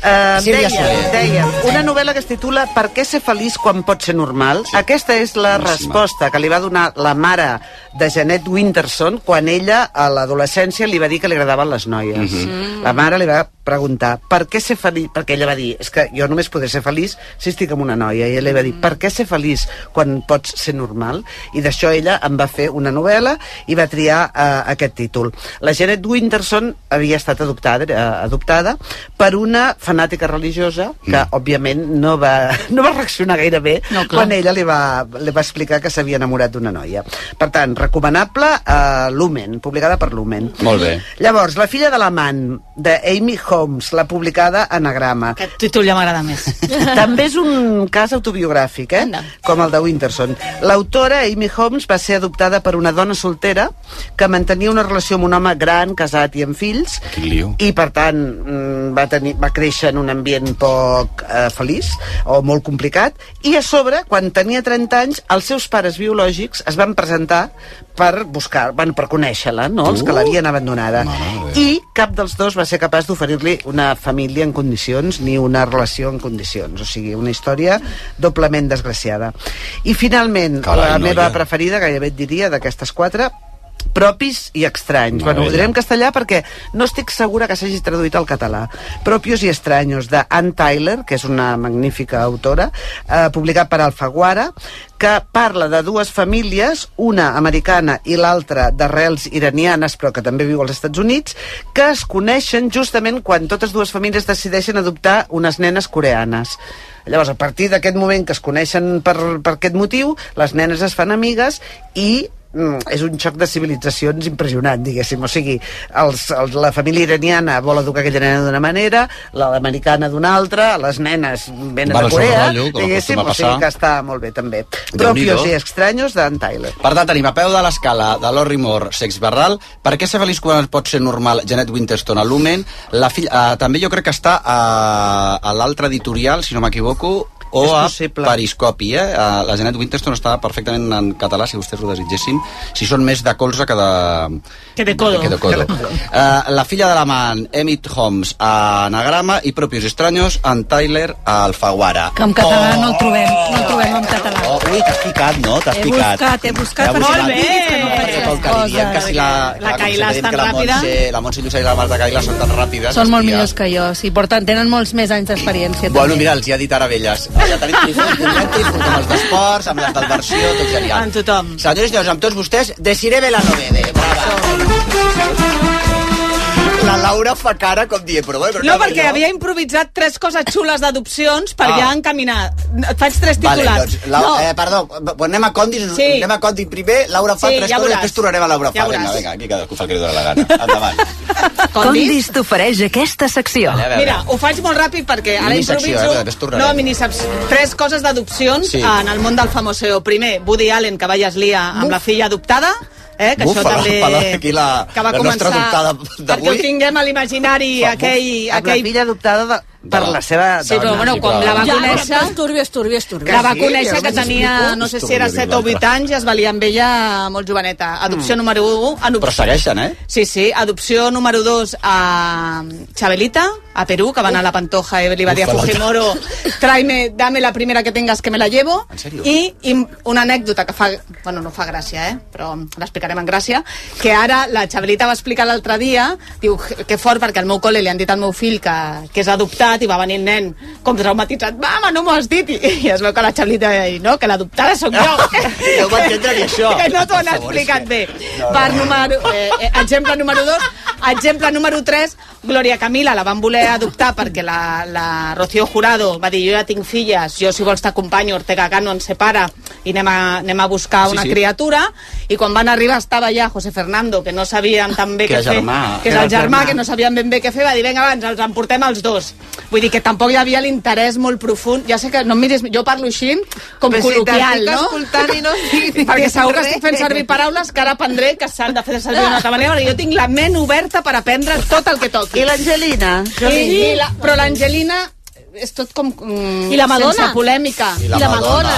S9: Eh,
S4: Sílvia
S9: deia,
S4: Soler.
S9: deia, una novel·la que es titula Per què ser feliç quan pot ser normal? Sí. Aquesta és la resposta que li va donar la mare de Janet Winterson quan ella, a l'adolescència, li va dir que li agradaven les noies.
S14: Mhm.
S9: Mm. La mare li va preguntar per què ser feliç? Perquè ella va dir, és que jo només podré ser feliç si estic amb una noia. I ella li va dir, per què ser feliç quan pots ser normal? I d'això ella en va fer una novel·la i va triar eh, aquest títol. La Janet Winterson havia estat adoptada, eh, adoptada per una fanàtica religiosa que, mm. òbviament, no va, [LAUGHS] no va reaccionar gaire bé no, quan ella li va, li va explicar que s'havia enamorat d'una noia. Per tant, recomanable eh, Lumen, publicada per Lumen.
S4: Molt bé.
S9: Llavors, La filla de l'amant, de Amy Holmes, la publicada Anagrama.
S13: Aquest títol ja m'agrada més.
S9: [LAUGHS] També és un cas autobiogràfic, eh? com el de Winterson. L'autora, Amy Holmes, va ser adoptada per una dona soltera que mantenia una relació amb un home gran, casat i amb fills,
S10: Quin lío.
S9: i per tant mm, va, tenir, va créixer en un ambient poc eh, feliç o molt complicat i a sobre, quan tenia 30 anys els seus pares biològics es van presentar per buscar, bueno, per conèixer-la no? els
S15: Uh!
S9: que l'havien abandonada i cap dels dos va ser capaç d'oferir-li una família en condicions ni una relació en condicions, o sigui una història doblement desgraciada i finalment,
S4: Carai,
S9: la
S4: noia.
S9: meva preferida gairebé et diria d'aquestes quatre propis i estranys. Bueno, ho diré en castellà perquè no estic segura que s'hagi traduït al català. Propios i estranyos, de Ann Tyler, que és una magnífica autora, eh, publicat per Alfaguara, que parla de dues famílies, una americana i l'altra d'arrels iranianes, però que també viu als Estats Units, que es coneixen justament quan totes dues famílies decideixen adoptar unes nenes coreanes. Llavors, a partir d'aquest moment que es coneixen per, per aquest motiu, les nenes es fan amigues i mm, és un xoc de civilitzacions impressionant, diguéssim. O sigui, els, els, la família iraniana vol educar aquella nena d'una manera, la l'americana d'una altra, les nenes venen
S4: Van a
S9: de Corea,
S4: sobrerollo, com
S9: diguéssim,
S4: acostuma a
S9: o sigui
S4: passar.
S9: que està molt bé, també.
S4: Déu-n'hi-do.
S9: Propios i extraños d'Ann Tyler.
S4: Per tant, tenim a peu de l'escala de Lori Moore, Sex Barral, Per què ser feliç quan pot ser normal, Janet Winterston, a Lumen, la filla, eh, també jo crec que està a, a l'altre editorial, si no m'equivoco, o
S9: És
S4: a
S9: possible.
S4: Periscopi, eh? Eh, La Janet Winterston està perfectament en català, si vostès ho desitgessin, si són més de colze que de...
S7: Que de codo.
S4: Que de codo. Eh, la filla de l'amant, Emmett Holmes, a Anagrama, i Propios Estranyos, en Tyler, a Alfaguara.
S12: Que en català no el trobem, no el trobem en català.
S4: Oh, ui, t'has picat, no? T'has
S12: He
S4: picat.
S12: buscat, he buscat,
S4: T'he
S12: però no diguis que no faig
S4: Perquè tot el que li diem, que si la...
S12: La
S4: clar, com
S12: Cailà
S4: sempre
S12: és tan
S4: diem que la
S12: ràpida.
S4: Montse- La Montse Lluça i la Marta Cailà són tan ràpides.
S12: Són molt
S4: hòstia.
S12: millors que jo, sí. Per tant, tenen molts més anys d'experiència.
S4: Bueno, mira, els hi ha dit ara velles. Ja tenim tifons, tindrem tifons amb els d'esports, amb les d'adversió, tot genial. Amb tothom. Senyors i senyors, amb tots vostès, Desiree la novede. La Laura fa cara com dient, però bueno...
S7: [LAUGHS] No, perquè havia improvisat tres coses xules d'adopcions per
S4: Ah.
S7: ja encaminar. Et faig tres titulars.
S4: Vale, doncs, la,
S7: no.
S4: no. eh, perdó, pues anem a Condis, sí. anem a Condis primer, Laura fa
S7: Sí,
S4: sí, tres
S7: ja
S4: coses,
S7: veuràs.
S4: després tornarem a Laura
S7: Ja
S4: fa. vinga,
S7: veuràs.
S4: vinga, aquí cadascú fa el que li dóna la gana. Endavant.
S5: Condis t'ofereix aquesta secció.
S4: Vale, a veure.
S7: Mira, ho faig molt ràpid perquè ara
S4: Minisecció, eh? Després
S7: improviso...
S4: tornarem.
S7: no, miniseps... Tres coses d'adopcions
S4: Sí.
S7: sí. en el món del famoseo. Primer, Woody Allen, que va i es lia amb la filla adoptada, eh, que
S4: Bufa,
S7: això
S4: [LAUGHS]
S7: també...
S4: la- aquí la-
S7: que va
S4: la nostra
S7: començar...
S4: adoptada
S7: perquè
S4: d'avui.
S7: ho tinguem a l'imaginari
S4: Fa buf.
S7: aquell...
S9: Amb la
S7: aquell...
S9: filla adoptada de, per la seva dona.
S7: Sí, però, bueno, quan la va
S9: Ja,
S7: conèixer-
S9: però-
S7: és
S12: turbi, és turbi, és turbi.
S7: La va
S9: Sí,
S7: conèixer
S9: és
S7: que
S9: un
S7: tenia,
S9: discurso
S7: no sé si era
S9: horrible,
S7: 7 o 8
S9: l'altre.
S7: anys i es valia amb ella molt joveneta. Adopció
S4: Mm.
S7: número 1...
S4: Però segueixen, eh?
S7: Sí, sí. Adopció número 2 a Xabelita, a Perú, que va anar a la Pantoja i li va dir a
S14: Uf, a la-
S7: Fujimoro tráeme, dame la primera que tengas que me la llevo.
S14: En serio?
S7: I, I una anècdota que fa, bueno, no fa gràcia, eh? però l'explicarem en gràcia, que ara la Xabelita va explicar l'altre dia, diu que fort perquè al meu col·le li han dit al meu fill que, que és adoptat i va venir un nen com traumatitzat, mama, no m'ho has dit, i, i es veu que la Xabelita va dir, no, que l'adoptada sóc
S16: [LAUGHS]
S7: jo.
S16: No ho va entendre ni això.
S7: Que no t'ho han
S16: Per favor,
S7: explicat bé.
S16: No, no.
S7: Per número, eh, eh, exemple número 2, exemple número 3, Gloria Camila la van voler adoptar perquè la, la Rocío Jurado va dir jo ja tinc filles, jo si vols t'acompanyo, Ortega Cano ens separa i anem a, anem a buscar
S16: Sí,
S7: una
S16: sí.
S7: criatura i quan van arribar estava ja José Fernando, que no sabíem tan bé
S16: Que
S7: què
S16: era
S7: fer,
S16: germà.
S7: que és
S16: Era
S7: el
S16: el
S7: germà,
S16: germà.
S7: que no sabíem ben bé què fer, va dir vinga, abans els emportem els dos. Vull dir que tampoc hi havia l'interès molt profund, ja sé que no em miris, jo parlo així com
S14: Però si
S7: col·loquial,
S14: t'estic
S7: no?
S14: escoltant
S7: [LAUGHS]
S14: i no estic
S7: Perquè
S14: dient
S7: segur que
S14: res.
S7: estic fent servir paraules que ara aprendré que s'han de fer servir d'una altra manera, perquè jo tinc la ment oberta per aprendre tot el que toqui.
S9: I l'Angelina?
S7: I, i la, però l'Angelina és tot com... mm,
S9: I la Madonna?
S7: Sense polèmica.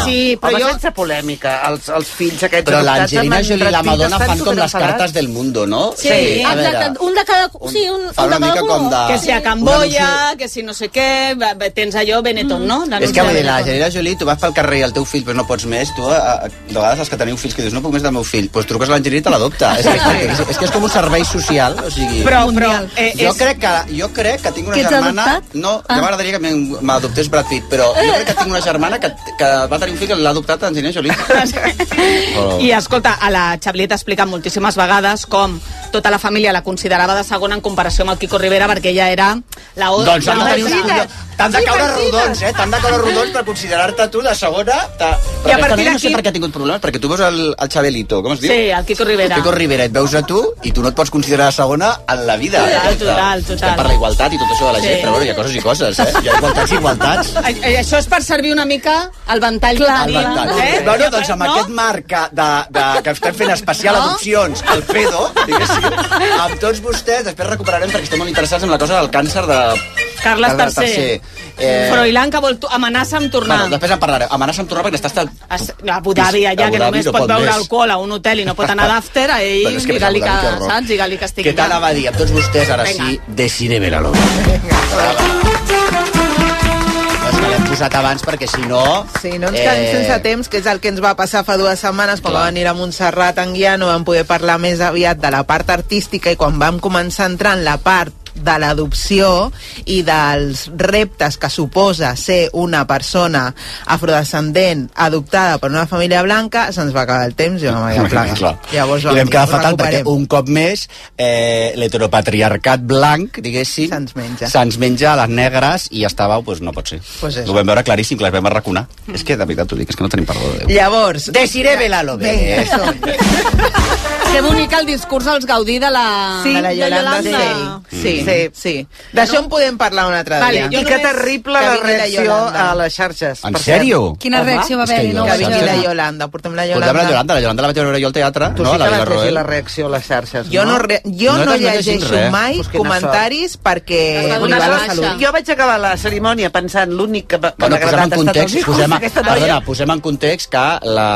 S7: Sí, però
S9: Home,
S7: jo...
S9: sense polèmica, els, els fills aquests...
S4: Però
S9: adoptats
S4: l'Angelina
S9: amb
S4: Jolie i la
S9: Brad Pitt
S4: Madonna
S9: estan
S4: fan com les
S9: superenfadats.
S4: cartes del mundo, no?
S7: Sí,
S4: a veure.
S7: un de cada... sí, un,
S4: Fa un de una cada mica color. com de-
S7: Que si a
S4: Sí.
S7: Camboya, que si no sé què, va- va- tens allò Benetton, no?
S4: És que vull dir,
S7: Benetton.
S4: la Angelina Jolie, tu vas pel carrer i el teu fill, però no pots més, tu a, a, de vegades els que teniu fills que dius, no puc més del meu fill, doncs truques a l'Angelina i te l'adopta. És, que- és, que- és, que és com un servei social, o sigui...
S7: Però, però... Eh,
S4: jo,
S7: és-
S4: crec que, jo crec que tinc una
S7: Que ets
S4: germana...
S7: adoptat?
S4: No, ah.
S7: Ah.
S4: ja m'agradaria que m'en- m'adoptés Brad Pitt, però jo crec que tinc una germana que, que va tenir un fill que l'ha adoptat a Angelina Jolie.
S7: [LAUGHS]
S4: Però-
S7: I escolta, a la Xablieta explica moltíssimes vegades com tota la família la considerava de segona en comparació amb el Quico Rivera perquè ella era la... o-
S4: Doncs han
S7: la
S4: de tenir uns
S7: Martina.
S4: collons... T'han de
S7: Sí,
S4: caure
S7: Martina.
S4: rodons, eh? T'han de caure rodons per considerar-te tu la segona... Ta...
S7: I a
S4: Però aquesta
S7: partir
S4: nena no sé
S7: d'aquí-
S4: per què ha tingut problemes, perquè tu veus el, el Xabelito, com es diu?
S7: Sí, el Quico Rivera.
S4: Quico Rivera, et veus a tu i tu no et pots considerar segona en la vida.
S7: Total, total,
S4: Estem per la igualtat i tot això de la
S7: Sí.
S4: gent, però bueno, hi ha coses i coses, eh? Hi ha igualtats i igualtats.
S7: A- a- Això és per servir una mica el ventall que
S4: El
S7: tenim,
S4: ventall.
S7: eh?
S4: Bueno, doncs amb aquest marc que- de, de, que estem fent especial
S7: No?
S4: adopcions, el pedo, diguéssim, amb tots vostès, després recuperarem perquè estem molt interessats en la cosa del càncer de...
S7: Carles
S4: Carles
S7: III.
S4: III.
S7: Eh... Froilán que vol tu- amenaça amb tornar.
S4: Bueno, després en parlarem. Amenaça amb tornar perquè n'estàs tan...
S7: Bueno, a Abu Dhabi, allà,
S4: Abu
S7: que
S4: Dhabi
S7: només
S4: no
S7: pot
S4: pot
S7: beure
S4: més.
S7: alcohol a un hotel i no pot anar d'after, a ell,
S4: Bueno, és que més
S7: digue-li
S4: Abu
S7: que,
S4: Dhabi que rock.
S7: saps? Digue-li que estic...
S4: Que t'anava a dir, amb tots vostès, ara
S7: Vinga.
S4: sí, de cine la lona. És que l'hem posat abans perquè si no...
S14: Sí, no ens quedem eh... sense temps, que és el que ens va passar fa dues setmanes quan va venir a Montserrat en guia, no vam poder parlar més aviat de la part artística i quan vam començar a entrar en la part de l'adopció i dels reptes que suposa ser una persona afrodescendent adoptada per una família blanca, se'ns va acabar el temps i vam
S4: [LAUGHS]
S14: haver de plegar.
S4: Clar.
S14: Llavors
S4: I
S14: vam
S4: vam
S14: dir,
S4: quedar
S14: ho
S4: fatal perquè
S14: recuperem.
S4: un cop més eh, l'heteropatriarcat blanc, diguéssim, se'ns menja. se'ns menja a les negres i estava, doncs no pot ser.
S14: Pues
S4: Ho vam veure claríssim, que les vam arraconar.
S14: Mm.
S4: És que de veritat t'ho dic, és que no tenim perdó de Déu.
S14: Llavors...
S4: Desiré Belalo, eh. bé.
S7: Que bonic el discurs als Gaudí de la,
S14: Sí,
S7: de la Yolanda.
S14: Sí, sí, sí. D'això en podem parlar un altre
S7: Vale,
S14: dia.
S7: jo
S9: I que terrible la reacció a les
S14: xarxes.
S4: En per cert. sèrio? Quina reacció va haver-hi? No ho
S14: Que
S4: vaig
S14: vingui la
S4: veure.
S14: Yolanda, portem la
S4: Portem
S14: Yolanda.
S4: la Yolanda, la Yolanda la vaig veure jo al teatre,
S9: Tu
S4: no?
S9: sí
S4: a la
S9: que vas
S4: Villarroel.
S9: llegir la reacció a les xarxes,
S14: Jo no, re, jo no,
S4: Nosaltres no llegim
S14: llegeixo
S4: res.
S14: mai
S9: Pues quina
S14: comentaris perquè
S9: Has de
S14: m'hi
S9: donar
S14: va la
S9: baixa.
S14: salut.
S9: Jo vaig acabar la cerimònia pensant l'únic que, m'ha- que
S4: Bueno,
S9: m'ha
S4: posem
S9: agradat
S4: en
S9: ha estat el
S4: context,
S9: discurs
S4: posem,
S9: d'aquesta noia.
S4: perdona, posem en context que la,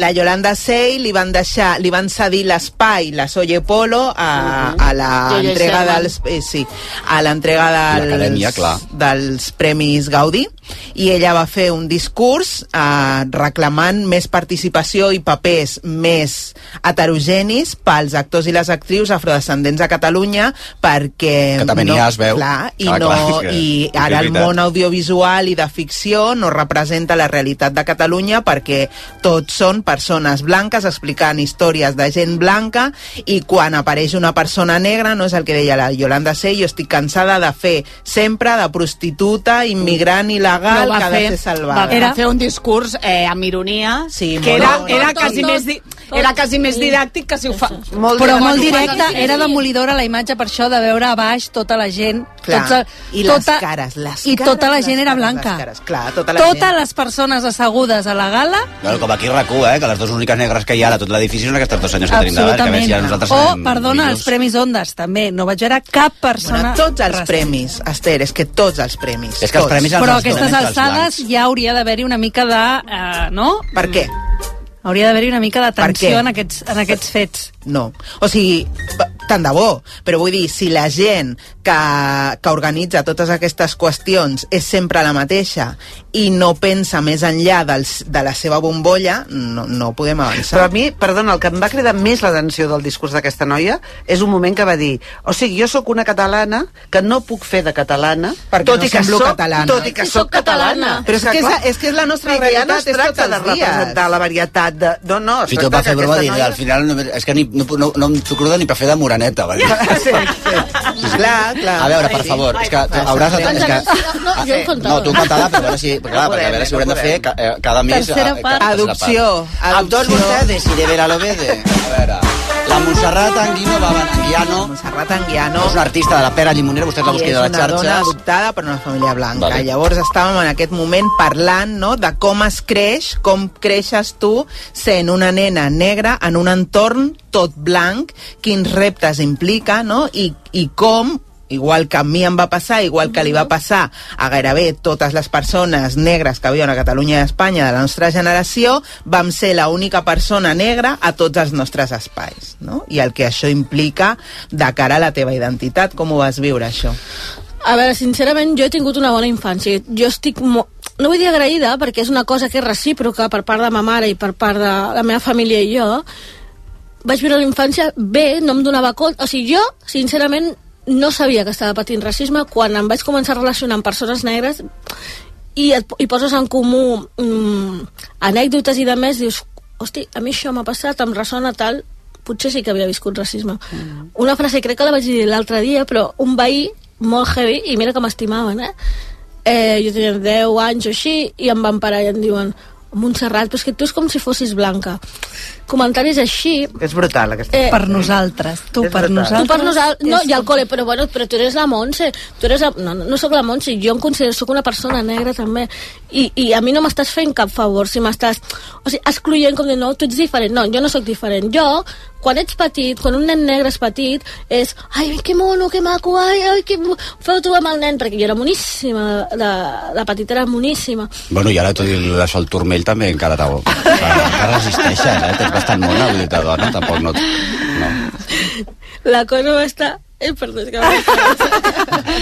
S14: La Yolanda Sey li van deixar, li van cedir l'espai, la Soye Polo, a, a la
S4: Yeye
S14: entrega
S4: Sherman.
S14: dels... Eh, sí, a l'entrega
S4: L'acadèmia,
S14: dels,
S4: clar.
S14: dels Premis Gaudí, i ella va fer un discurs eh, reclamant més participació i papers més heterogenis pels actors i les actrius afrodescendents a Catalunya perquè...
S4: Que també n'hi ha, es veu.
S14: Clar, i,
S4: Clar,
S14: no,
S4: clar, és que-
S14: i
S4: és que és
S14: ara el
S4: veritat.
S14: món audiovisual i de ficció no representa la realitat de Catalunya perquè tots són persones blanques explicant històries de gent blanca i quan apareix una persona negra, no és el que deia la Yolanda C, jo estic cansada de fer sempre de prostituta, immigrant il·legal
S7: No, va
S14: que ha de
S7: fer-
S14: ser salvada.
S7: Va, va fer un discurs eh, amb ironia, sí,
S14: molt.
S7: que era,
S14: Tot,
S7: era,
S14: tot,
S7: quasi
S14: tot,
S7: més, di era quasi més didàctic que si ho fa...
S14: Molt
S7: Però
S14: de-
S7: molt
S14: Sí,
S7: directe,
S14: sí, sí.
S7: era
S13: demolidora la imatge per això de veure a baix tota la gent.
S14: Clar.
S13: Tots,
S14: I les cares, les
S13: I
S14: cares,
S13: tota la
S14: les
S13: gent era
S14: cares, les
S13: blanca.
S14: cares. Clar, tota la
S13: Totes les persones assegudes a la gala
S4: Bueno, com aquí a RAC1, eh, que les dues úniques negres que hi ha de tot l'edifici són aquestes dues senyors que tenim davant, que a veure
S13: Absolutament.
S4: si ara nosaltres...
S13: o,
S4: anem
S13: perdona,
S4: millors.
S13: els Premis Ondes, també. No vaig veure cap persona...
S14: Bueno, tots els
S13: racista.
S14: premis, Esther, és que tots els premis.
S4: És que els
S14: tots.
S4: premis
S13: Però a aquestes alçades ja hauria d'haver-hi una mica de... Eh, no?
S14: Per què?
S13: Hauria d'haver-hi una mica
S14: Per què?
S13: d'atenció en aquests, en aquests fets.
S14: No. O sigui, va- tant de bo, però vull dir, si la gent que, que organitza totes aquestes qüestions és sempre la mateixa i no pensa més enllà dels, de la seva bombolla, no, no podem avançar.
S9: Però a mi, perdona, el que em va cridar més l'atenció del discurs d'aquesta noia és un moment que va dir, o sigui, jo sóc una catalana que no puc fer de catalana,
S14: Perquè
S9: tot
S14: no
S9: i que
S14: semblo
S9: soc,
S14: catalana.
S9: Tot i que
S14: Sí,
S9: sóc
S14: sóc catalana.
S9: catalana.
S14: Però és que és la-
S9: clar,
S14: és que és la nostra
S9: sí, que
S14: realitat,
S9: Ja no
S14: és
S9: es tracta
S14: tots
S9: de
S14: els dies.
S9: representar la varietat de... No, no, es
S15: Fins i tot va
S9: tracta
S15: fer
S9: que
S15: broma
S9: aquesta
S15: dir,
S9: noia-
S15: al final no, és que ni, no, no, no em cruda ni per fer de moreneta. Va dir.
S14: Clar, clar.
S15: A veure, per favor, és que hauràs... de-
S4: Doncs
S15: És
S14: Doncs
S15: que,
S11: No, jo en contra.
S15: no, tu en català, però a veure si, perquè, clar, perquè a veure si haurem de fer ca- eh, cada mes... eh,
S11: Tercera
S15: ca-
S11: part.
S15: tercera
S14: Adopció.
S15: Amb tots vostès i de vera lo vede. A veure, la Montserrat Anguino va Anguiano.
S14: Montserrat Anguiano.
S15: És una artista de la pera llimonera, vostès la
S14: I és
S15: busqueu a
S14: una
S15: les
S14: dona
S15: xarxes.
S14: adoptada per una família blanca.
S15: Vale.
S14: Vale. Llavors estàvem en aquest moment parlant no, de com es creix, com creixes tu sent una nena negra en un entorn tot blanc, quins reptes implica no? I, i com igual que a mi em va passar, igual que li va passar a gairebé totes les persones negres que viuen a Catalunya i a Espanya de la nostra generació, vam ser la única persona negra a tots els nostres espais, no? I el que això implica de cara a la teva identitat, com ho vas viure, això?
S11: A veure, sincerament, jo he tingut una bona infància. Jo estic mo... No vull dir agraïda, perquè és una cosa que és recíproca per part de ma mare i per part de la meva família i jo. Vaig viure la infància bé, no em donava compte... O sigui, jo, sincerament, no sabia que estava patint racisme quan em vaig començar a relacionar amb persones negres i, et, i poses en comú mm, anècdotes i de més, dius, hosti, a mi això m'ha passat, em ressona tal, potser sí que havia viscut racisme. Mm. Una frase crec que la vaig dir l'altre dia, però un veí molt heavy, i mira que m'estimaven, eh? eh? Jo tenia 10 anys o així, i em van parar i em diuen Montserrat, però és que tu és com si fossis blanca. Comentaris així...
S9: És brutal, aquesta.
S11: Eh,
S13: Per nosaltres, tu
S9: És
S13: per
S9: veritat.
S13: nosaltres.
S11: Tu per nosaltres, no, i al col·le, però bueno, però tu eres la Montse, tu eres la... No, no, no sóc la Montse, jo em considero, sóc una persona negra també, i, i a mi no m'estàs fent cap favor, si m'estàs... O sigui, excloent com de, no, tu ets diferent, no, jo no sóc diferent, jo, quan ets petit, quan un nen negre és petit, és, ai, que mono, que maco, ai, ai, que... bo- Feu tu amb el nen, perquè jo era moníssima, de, de petita era moníssima.
S15: Bueno, i ara tot i això, el turmell també encara t'ha... Encara resisteixes, eh? Tens bastant mona, vull dir, ta dona, tampoc no... No.
S11: La cosa va estar... Eh, perdó, és que m'ha-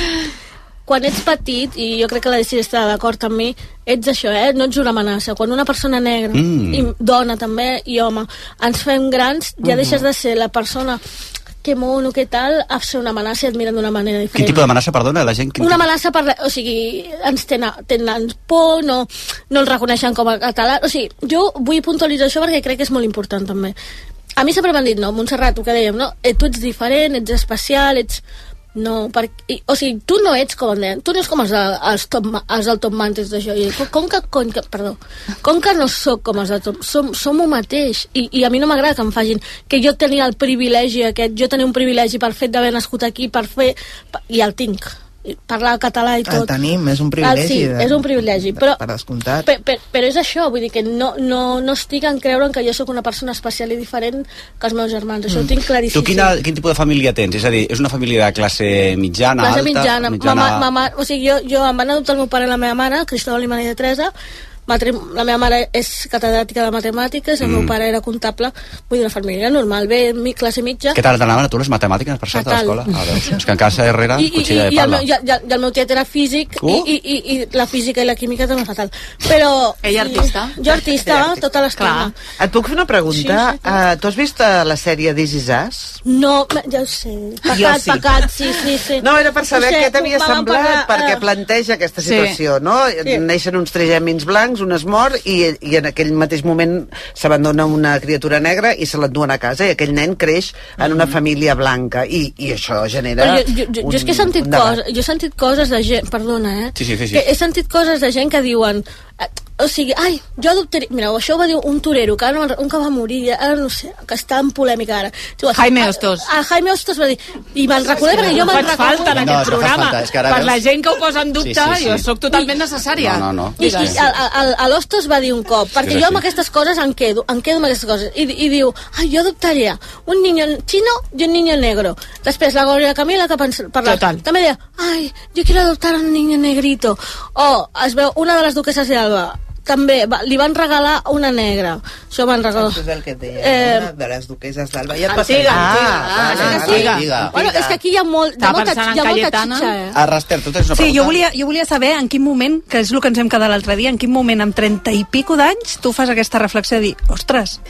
S11: Quan ets petit, i jo crec que la Desi està d'acord amb mi, ets això, eh? No ets una amenaça. Quan una persona negra,
S17: Mm.
S11: mm. i dona també, i home, ens fem grans,
S15: Mm-hmm.
S11: ja deixes de ser la persona que mono, que tal, a ser una amenaça i et miren d'una manera diferent
S15: Quin tipus d'amenaça, perdona, la gent? Quin
S11: una amenaça per... la- O sigui, ens tenen, tenen por, no, no el reconeixen com a català... O sigui, jo vull puntualitzar això perquè crec que és molt important, també. A mi sempre m'han dit, no, Montserrat, el que dèiem, no? Eh, tu ets diferent, ets especial, ets... No, per, i, o sigui, tu no ets com el nen, tu no ets com els, de, els, top, ma- els del Top Mantis d'això. I com, com, que, com, que, perdó, com que no sóc com els del Top, som, som un mateix. I, I a mi no m'agrada que em facin que jo tenia el privilegi aquest, jo tenia un privilegi per fet d'haver nascut aquí, per fer... per- I el tinc. I Parlar català i tot.
S14: El tenim, és un privilegi.
S11: Ah, sí,
S14: de-
S11: és un privilegi, però,
S14: Per descomptat.
S11: per, per, però és això, vull dir que no, no, no estic en creure en que jo sóc una persona especial i diferent que els meus germans, això mm. ho tinc claríssim.
S15: Tu quina, quin tipus de família tens? És a dir, és una família de classe mitjana,
S11: Classe
S15: alta?
S11: mitjana. mitjana... Mama, mama, o sigui, jo, jo em van adoptar el meu pare i la meva mare, Cristóbal i Maria de Teresa, Matrim... la meva mare és catedràtica de matemàtiques, el
S15: Mm.
S11: meu pare era comptable, vull dir, una família normal, bé, mi, classe mitja.
S15: Què tal t'anaven a tu les matemàtiques, per cert, a
S11: Fatal.
S15: l'escola? Ah, veus. és que en casa Herrera,
S11: I, i, i,
S15: cuchilla de
S11: i, el
S15: pala.
S11: meu, i, el- i el meu tiet era físic
S15: Uh!
S11: i, i, i, i la física i la química també fatal però...
S12: Ella
S11: sí,
S12: artista.
S11: jo artista,
S12: Ella artista.
S11: tota l'estona
S9: Et puc fer una pregunta?
S11: Sí, sí,
S9: Eh, tu has vist eh, la sèrie This Is Us?
S11: no, ja ho sé pecat,
S9: sí.
S11: pecat, sí, sí, sí
S9: No, era per saber
S11: Ho sé,
S9: què t'havia
S11: vam
S9: semblat,
S11: parlar,
S9: perquè
S11: eh,
S9: planteja aquesta
S11: sí.
S9: situació, no?
S11: Sí.
S9: Neixen uns trigèmins blancs, un es mor, i, i en aquell mateix moment s'abandona una criatura negra i se l'enduen a casa, i aquell nen creix en una família blanca, i, i això genera...
S11: Mm. eh, Però jo, jo, jo, jo és que he sentit, coses, jo he sentit coses de gent... Perdona, eh?
S9: Sí, sí, sí, sí.
S11: Que he sentit coses de gent que diuen... eh, O sigui, ai, jo adoptaré... Mira, això ho va dir un torero, que ara no, me'n- un que va morir, ara no sé, que està en polèmica ara. Diu,
S7: Jaime
S11: ah,
S7: Hostos.
S11: Ah, Jaime Hostos va dir... I me'n recordo perquè jo me'n
S7: Faig
S11: recordo...
S7: falta en
S15: No, és
S7: aquest
S15: que fa
S7: programa.
S15: falta, és que ara
S7: Per
S15: veus-
S7: la gent que ho posa en dubte,
S15: Sí, sí, sí.
S7: jo sóc totalment necessària.
S15: No, no, no.
S11: I, i
S15: Sí.
S11: a, a, a l'Hostos va dir un cop, perquè
S15: és
S11: jo
S15: així.
S11: amb aquestes coses em quedo, em quedo amb aquestes coses. I, i diu, ai, jo adoptaria un niño chino i un niño negro. Després la Gloria Camila que pens- parlava.
S7: Total.
S11: També Oh, deia, ai, jo quiero adoptar un niño negrito. O es veu una de les duqueses d'Alba, també va, li van regalar una negra. Això van regalar...
S14: Això és el que et deia,
S11: Eh,
S14: eh... de les duqueses d'Alba. Ja et
S11: Antiga,
S14: passaré.
S11: antiga.
S14: Ah,
S11: Ah,
S14: vale,
S11: sí.
S14: vale,
S11: Bueno, és que aquí hi ha molt, hi ha
S13: Estava
S11: molta,
S13: pensant en
S11: hi ha molta
S13: Cayetana.
S11: xitxa, eh?
S4: Ah, Raster, tu tens una
S13: Sí,
S4: pregunta?
S13: jo volia, jo volia saber en quin moment, que és el que ens hem quedat l'altre dia, en quin moment amb 30 i pico d'anys tu fas aquesta reflexió de dir, ostres,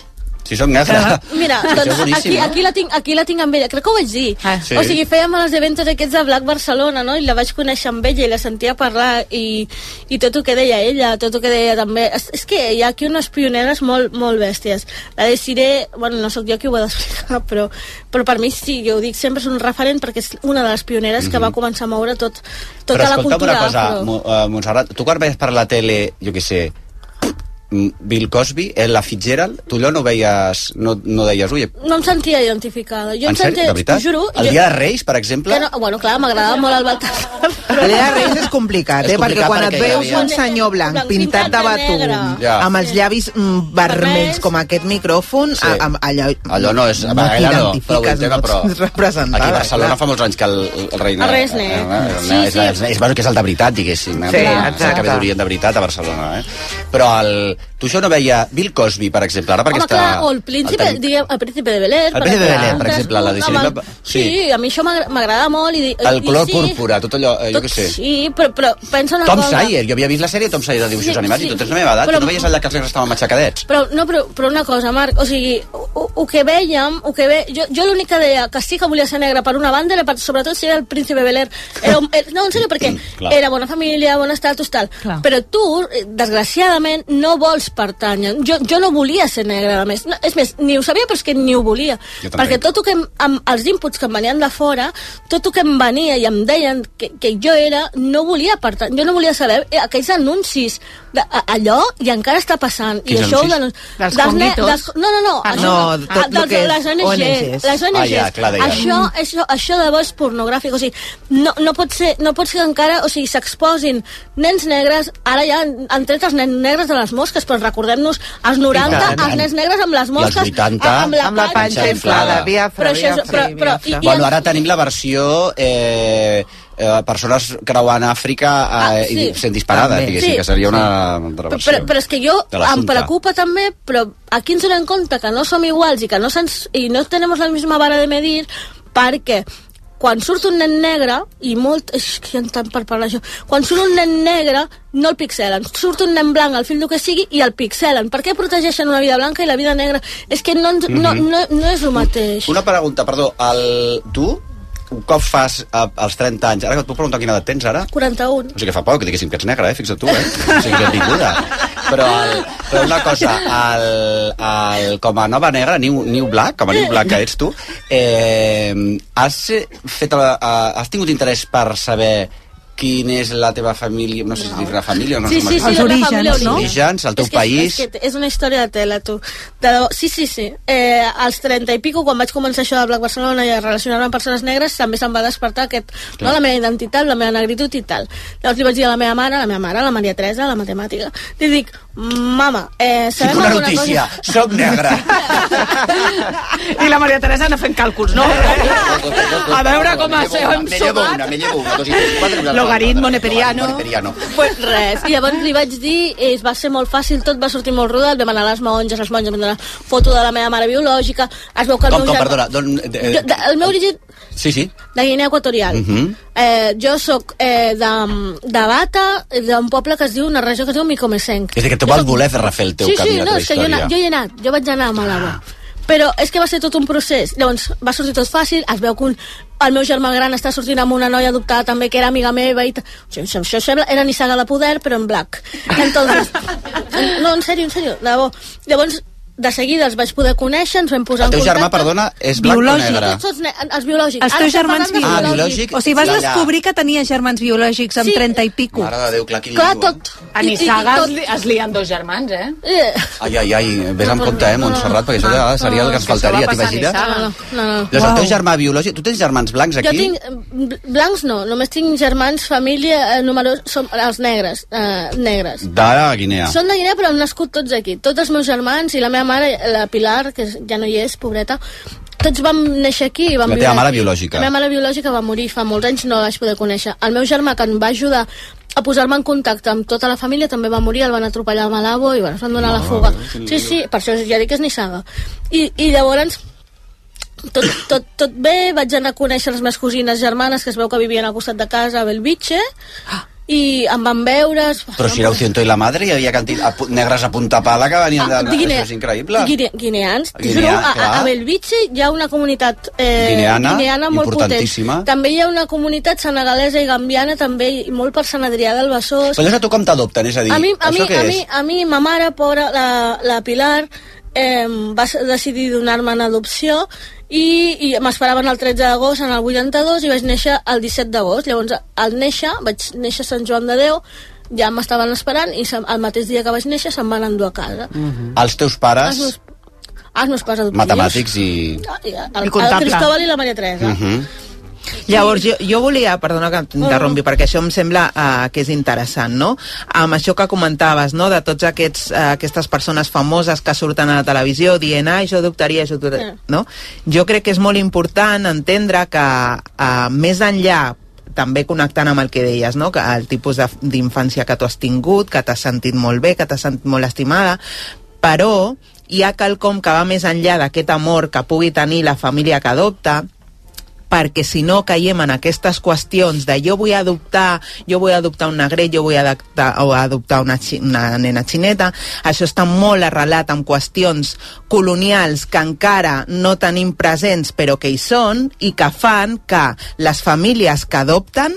S4: Si som gafes.
S11: Mira,
S4: Això és
S11: doncs
S4: boníssim,
S11: aquí,
S4: eh?
S11: aquí, la tinc, aquí la tinc amb ella, crec que ho vaig dir. Ah,
S4: Sí.
S11: O sigui, fèiem els eventos aquests de Black Barcelona, no? I la vaig conèixer amb ella i la sentia parlar i, i tot el que deia ella, tot el que deia també... És, és que hi ha aquí unes pioneres molt, molt bèsties. La de Siré, bueno, no sóc jo qui ho ha d'explicar, [LAUGHS] però, però per mi sí, jo ho dic, sempre és un referent perquè és una de les pioneres que va començar a moure tot, tota
S4: Mhm. Però
S11: la
S4: escolta'm
S11: cultura
S4: una cosa,
S11: afro.
S4: Mo- eh, Montserrat, tu quan veies per la tele, jo què sé, mm, Bill Cosby, eh, la Fitzgerald, tu allò no veies, no, no deies, ui,
S11: No em sentia identificada. Jo em
S4: en
S11: sentia,
S4: sèrio, de veritat?
S11: t'ho Juro,
S4: El
S11: jo-
S4: dia de Reis, per exemple,
S11: Que no, bueno, clar, m'agradava molt el Baltasar.
S14: La idea de Reis és complicat,
S4: És
S14: eh?
S4: complicat
S14: perquè quan
S4: perquè
S14: et
S4: hi
S14: veus
S4: havia-
S14: un senyor blanc, pintat de
S11: negre.
S14: batú,
S4: Ja.
S14: amb els llavis mm, vermells com aquest micròfon,
S4: Sí.
S14: a, a, allò,
S4: allò no és...
S14: No
S4: va, gaire no, però, ho
S14: t'identifiques,
S4: entenc,
S14: no [LAUGHS]
S4: però
S14: ets representada,
S4: Aquí a Barcelona
S14: clar.
S4: fa molts anys que el, el rei...
S14: El rei és negre. Sí,
S4: Sí,
S14: sí.
S4: sí. És, és, bueno, que és el de veritat, diguéssim.
S14: Sí,
S4: És
S14: exacte.
S4: el que ve d'Orient de veritat a Barcelona, eh? Però el, tu això no veia Bill Cosby, per exemple, ara Ah, perquè
S11: Home,
S4: està...
S11: clar, o el príncipe,
S4: el,
S11: diguem, el príncipe de Bel-Air.
S4: El príncipe de Bel-Air, per exemple, la de Cinema-
S11: Sí. sí, a mi això m'agra- m'agrada molt. I, di-
S4: el, el
S11: i
S4: color
S11: sí,
S4: púrpura, tot allò, eh, jo
S11: tot,
S4: què sé.
S11: Sí, però, però pensa una
S4: Tom
S11: cosa...
S4: Sawyer, jo havia vist la sèrie de Tom Sawyer de dibuixos
S11: Sí,
S4: animats
S11: sí.
S4: i tu tens la meva edat,
S11: Però-
S4: tu no veies allà que els negres estaven matxacadets.
S11: Però, no, però, però una cosa, Marc, o sigui, el que vèiem, o que ve, jo, jo l'únic que deia que sí que volia ser negre per una banda era per, sobretot si era el príncipe Bel-Air. Era un- eh, No, en sèrio, perquè
S13: Clar.
S11: era bona família, bon estatus, tal.
S13: Clar.
S11: Però tu, eh, desgraciadament, no vols pertànyer. Jo, jo no volia ser negre, a més. No, és més, ni ho sabia, però és que ni ho volia.
S13: Jo també.
S11: Perquè tot el que em, amb els inputs que em venien de fora, tot el que em venia i em deien que, que jo era, no volia pertànyer, jo no volia saber eh, aquells anuncis de, a- allò i encara està passant i
S14: Quins
S11: això ho
S14: anuncis?
S11: denun-
S14: Dels
S11: dels ne-
S14: conguitos?
S11: dels- No, no, no.
S14: Ah,
S11: això
S14: no,
S11: no.
S14: tot
S11: Ah,
S14: lo
S11: dels-
S14: que és
S11: les ONGs.
S14: ONGs.
S11: Les ONGs.
S14: Ah, ja, clar, deia.
S11: Això, això, això de vols pornogràfic, o sigui, no, no pot ser, no pot ser que encara, o sigui, s'exposin nens negres, ara ja han- han tret els nens negres de les mosques, però recordem-nos els 90,
S4: I tant.
S11: els nens negres amb les
S4: I els
S11: mosques,
S4: 80,
S11: amb la,
S4: amb la
S11: panxa
S4: panxa inflada.
S11: Però això és- però- però- i- i
S4: Bueno, ara tenim la versió eh, eh, persones creuant Àfrica eh,
S11: Ah, sí.
S4: i sent disparades,
S11: També.
S4: diguéssim,
S11: Sí.
S4: que seria una altra versió.
S11: Però, però és que jo
S4: de l'assumpte.
S11: em preocupa també, però aquí ens donem compte que no som iguals i que no, se'ns, i no tenim la misma vara de medir perquè quan surt un nen negre, i molt... És que hi ha tant per parlar això. Quan surt un nen negre, no el pixelen. Surt un nen blanc, el fill del que sigui, i el pixelen. Per què protegeixen una vida blanca i la vida negra? És que no, ens- no,
S4: Mhm.
S11: no, no és el mateix.
S4: Una pregunta, perdó. El, tu, un cop fas eh, als 30 anys... Ara que et puc preguntar quina edat tens, ara?
S11: 41.
S4: O sigui que fa poc que diguéssim que ets negra, eh? Fixa't tu, eh? O sigui, benvinguda. Però, el, però una cosa, el, el, com a nova negra, New, new Black, com a New Black que ets tu, eh, has, fet, eh, has tingut interès per saber quina és la teva família, no sé si dir la família o no
S11: Sí,
S4: sé com
S11: sí,
S4: es
S11: sí,
S4: diu.
S11: la meva família,
S4: Els
S11: no?
S4: orígens, el teu
S11: és que,
S4: país...
S11: És, que és una història de tela, tu. De debò, sí, sí, sí. Eh, als 30 i pico, quan vaig començar això de Black Barcelona i a relacionar-me amb persones negres, també se'm va despertar aquest, no, la meva identitat, la meva negritud i tal. Llavors li vaig dir a la meva mare, a la meva mare, la Maria Teresa, la matemàtica, li dic, mama, eh, sabem
S4: Tinc una
S11: alguna
S4: notícia,
S11: cosa... [LAUGHS]
S4: soc negra.
S7: I la Maria Teresa anar fent càlculs, no? A veure com
S4: Me
S7: es
S4: llevo
S7: hem
S4: una, Me llevo
S7: sumat.
S4: una, me llevo una, dos i tres, quatre... una,
S7: Logaritmo
S4: una,
S7: neperiano.
S4: neperiano.
S11: Pues [LAUGHS] res, i llavors li vaig dir, eh, va ser molt fàcil, tot va sortir molt rodat, vam anar a les monges, les monges van donar foto de la meva mare biològica, es veu que el
S4: Com,
S11: meu
S4: com,
S11: germà-
S4: perdona, d'on... eh,
S11: Jo, de, el meu origen
S4: Sí, sí.
S11: de Guinea Equatorial.
S4: Mhm.
S11: eh, jo sóc eh, de, de Bata, d'un poble que es diu, una regió que es diu Micomesenc.
S4: És a dir, que te vas voler fer refer el teu
S11: sí,
S4: camí,
S11: sí,
S4: la
S11: no,
S4: teva
S11: és que jo, he
S4: història.
S11: anat, jo hi he anat, jo vaig anar a Malabo. Però és que va ser tot un procés. Llavors, va sortir tot fàcil, es veu que un, el meu germà gran està sortint amb una noia adoptada també, que era amiga meva, i... t- O sigui, això, això sembla... Era nissaga de poder, però en black.
S4: [LAUGHS]
S11: Entonces, no, en sèrio, en sèrio, de debò. Llavors, de seguida els vaig poder conèixer, ens vam posar en
S4: El teu
S11: contacte.
S4: germà, perdona, és blanc o negre?
S11: Tots, tots ne els biològics.
S13: Els teus
S11: estem
S13: germans
S11: parlant de
S13: biològics.
S4: biològic.
S13: O sigui, vas
S4: Ja, ja.
S13: descobrir que tenia germans biològics amb
S11: Sí.
S13: 30 i pico.
S4: Mare de Déu, clar, qui li
S13: Clar,
S4: diu, eh?
S13: tot.
S7: A Nissaga es, li, es lien dos germans, eh?
S4: Ai, ai, ai, vés amb compte, eh, Montserrat, perquè això ja seria el que ens
S7: això va
S4: faltaria,
S7: passar a
S4: t'imagines?
S7: Nissaga.
S11: No, no, no.
S4: Llavors, el teu germà biològic... Tu tens germans blancs
S11: Jo
S4: aquí?
S11: tinc... eh, bl- Blancs no, només tinc germans, família, eh, numerós... Som els negres, eh, negres.
S4: De Guinea.
S11: Són de Guinea, però han nascut tots aquí. Tots els meus germans i la meva mare, la Pilar, que ja no hi és, pobreta, tots vam néixer aquí i vam
S4: La
S11: viure
S4: teva mare
S11: aquí.
S4: biològica.
S11: La meva mare biològica va morir fa molts anys, no la vaig poder conèixer. El meu germà, que em va ajudar a posar-me en contacte amb tota la família, també va morir, el van atropellar al Malabo i bueno, es van donar no,
S4: Ah,
S11: la fuga. Sí, sí, per això ja dic que és Nissaga. I, i llavors tot, tot, tot bé, vaig anar a conèixer les meves cosines germanes que es veu que vivien al costat de casa a Belvitge i em van veure es-
S4: Però si era Ciento i la madre hi havia cantit, apu- negres a punta pala que venien de...
S11: Guine-
S4: Això és increïble.
S11: Guine, Ah, guineans.
S4: Guinea,
S11: Guinea, juro, a,
S4: clar.
S11: a Belvitge hi ha una comunitat eh,
S4: Guineana,
S11: molt
S4: importantíssima.
S11: potent. També hi ha una comunitat senegalesa i gambiana, també i molt per Sant Adrià del Besòs.
S4: Però llavors a tu com t'adopten? És a dir,
S11: a mi, a mi,
S4: això què
S11: a
S4: és?
S11: mi, a mi, ma mare, pobra, la, la Pilar, eh, va s- decidir donar-me en adopció i, i m'esperaven el 13 d'agost en el 82 i vaig néixer el 17 d'agost llavors al néixer, vaig néixer a Sant Joan de Déu ja m'estaven esperant i se- el mateix dia que vaig néixer se'm van endur a casa
S4: Mhm. Els teus
S11: els
S4: pares,
S11: meus, els meus pares adoptius.
S4: matemàtics i...
S11: I el,
S14: I
S11: el,
S14: comptable.
S11: Cristóbal i la Maria Teresa.
S4: Uh -huh.
S14: Llavors, jo, jo volia, perdona que t'interrompi, perquè això em sembla eh, que és interessant, no? Amb això que comentaves, no?, de tots aquests, eh, aquestes persones famoses que surten a la televisió dient, ah, jo adoptaria, jo adoptaria, no? Jo crec que és molt important entendre que eh, més enllà també connectant amb el que deies, no? que el tipus de- d'infància que tu has tingut, que t'has sentit molt bé, que t'has sentit molt estimada, però hi ha quelcom que va més enllà d'aquest amor que pugui tenir la família que adopta, perquè si no caiem en aquestes qüestions de jo vull adoptar, jo vull adoptar un negret, jo vull adoptar, o adoptar una, xi- una nena xineta, això està molt arrelat en qüestions colonials que encara no tenim presents però que hi són i que fan que les famílies que adopten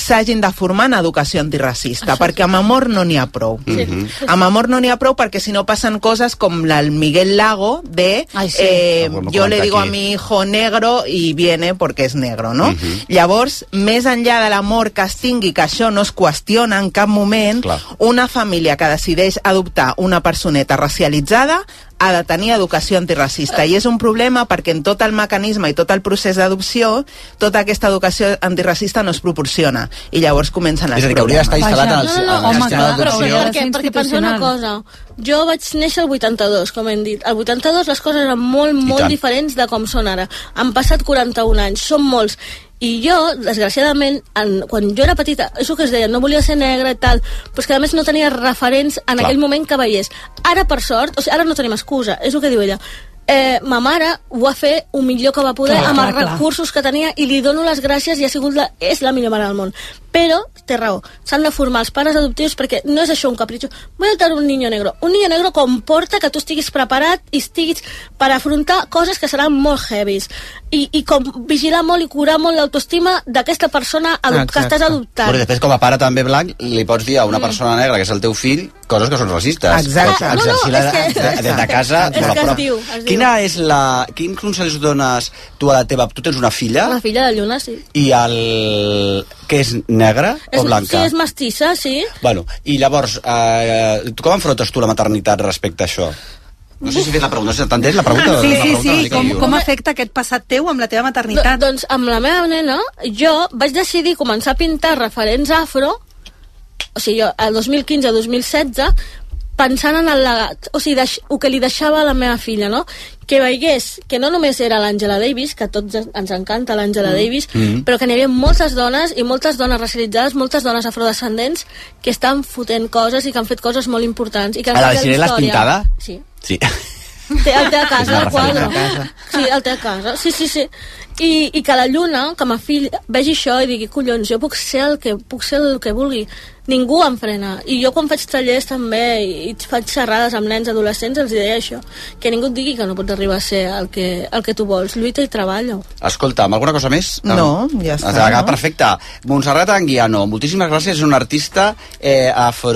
S14: s'hagin de formar en educació antiracista, perquè amb amor no n'hi ha prou.
S4: Sí.
S14: Amb amor no n'hi ha prou perquè si no passen coses com la- el Miguel Lago de
S4: sí.
S14: eh,
S4: Ho hem
S14: jo le
S4: comentat
S14: digo a
S4: aquí.
S14: mi mi hijo negro i viene perquè és negro, no? Llavors, més enllà de l'amor que es tingui, que això no es qüestiona en cap moment,
S4: Clar.
S14: una família que decideix adoptar una personeta racialitzada ha de tenir educació antiracista i és un problema perquè en tot el mecanisme i tot el procés d'adopció tota aquesta educació antiracista no es proporciona i llavors comencen els
S4: És a dir, que hauria
S14: problemes.
S4: d'estar instal·lat en el- Vaja, no, no, en el home, sistema clar,
S11: Però,
S4: d'adopció.
S11: però perquè, perquè penseu una cosa. Jo vaig néixer el 82, com hem dit. El 82 les coses eren molt, molt
S4: tant.
S11: diferents de com són ara. Han passat 41 anys, són molts. I jo, desgraciadament, en, quan jo era petita, això que es deia, no volia ser negra i tal, però és que a més no tenia referents en
S13: Clar.
S11: aquell moment que veiés. Ara, per sort, o sigui, ara no tenim excusa, és el que diu ella. Eh, ma mare ho va fer el millor que va poder
S13: Clar,
S11: amb
S13: clar,
S11: els
S13: clar.
S11: recursos que tenia i li dono les gràcies i ha sigut la, és la millor mare del món. Però, té raó, s'han de formar els pares adoptius perquè no és això un capritxo. Voy a adoptar un niño negro. Un niño negro comporta que tu estiguis preparat i estiguis per afrontar coses que seran molt heavies. I, i com vigilar molt i curar molt l'autoestima d'aquesta persona
S4: Ah,
S11: adopt, que estàs adoptant. Mm.
S4: Però després, com a pare també blanc, li pots dir a una persona negra que és el teu fill coses que són racistes.
S14: Exacte. No,
S4: Pots
S14: no,
S4: exercir
S14: és
S4: la-
S14: que-
S4: de- Des de casa,
S11: És
S4: molt a
S11: que es
S4: prop.
S11: diu, es diu.
S4: Quina és la... Quin consells dones tu a la teva... Tu tens una filla
S11: La filla de Lluna, sí.
S4: i el... que és negra
S11: És,
S4: o blanca?
S11: sí, és mestissa, sí.
S4: Bueno, i llavors, eh, tu com enfrontes tu la maternitat respecte a això? No sé si he fet la pregunta, si t'entens la pregunta?
S18: Ah, Sí,
S4: la
S18: sí,
S4: pregunta
S18: sí.
S4: una mica
S18: Com,
S4: lliure.
S18: com afecta aquest passat teu amb la teva maternitat?
S11: Do, doncs amb la meva nena jo vaig decidir començar a pintar referents afro, o sigui, jo, el 2015-2016, pensant en el legat, o sigui, deix, el que li deixava a la meva filla, no? Que veigués que no només era l'Àngela Davis, que a tots ens encanta
S13: Mm.
S11: l'Àngela mm. Davis,
S13: Mm.
S11: mm. però que n'hi havia moltes dones, i moltes dones racialitzades, moltes dones afrodescendents, que estan fotent coses i que han fet coses molt importants. I que han
S4: A la
S11: canviat
S4: Xirena l'has
S11: història.
S4: pintada?
S11: Sí.
S4: Sí.
S11: Té, el té a casa,
S4: És
S11: el
S4: una
S11: quadre.
S4: referent a casa.
S11: Sí, el té a casa. Sí, sí, sí. I, I que la lluna, que ma fill vegi això i digui, collons, jo puc ser el que, puc ser el que vulgui. Ningú em frena. I jo quan faig tallers també i, i faig xerrades amb nens adolescents els deia això, que ningú et digui que no pots arribar a ser el que, el que tu vols. Lluita i treballa.
S4: Escolta'm, alguna cosa més?
S14: No, ja està,
S4: Acaba
S14: no?
S4: perfecte. Montserrat Anguiano, moltíssimes gràcies. És una artista eh,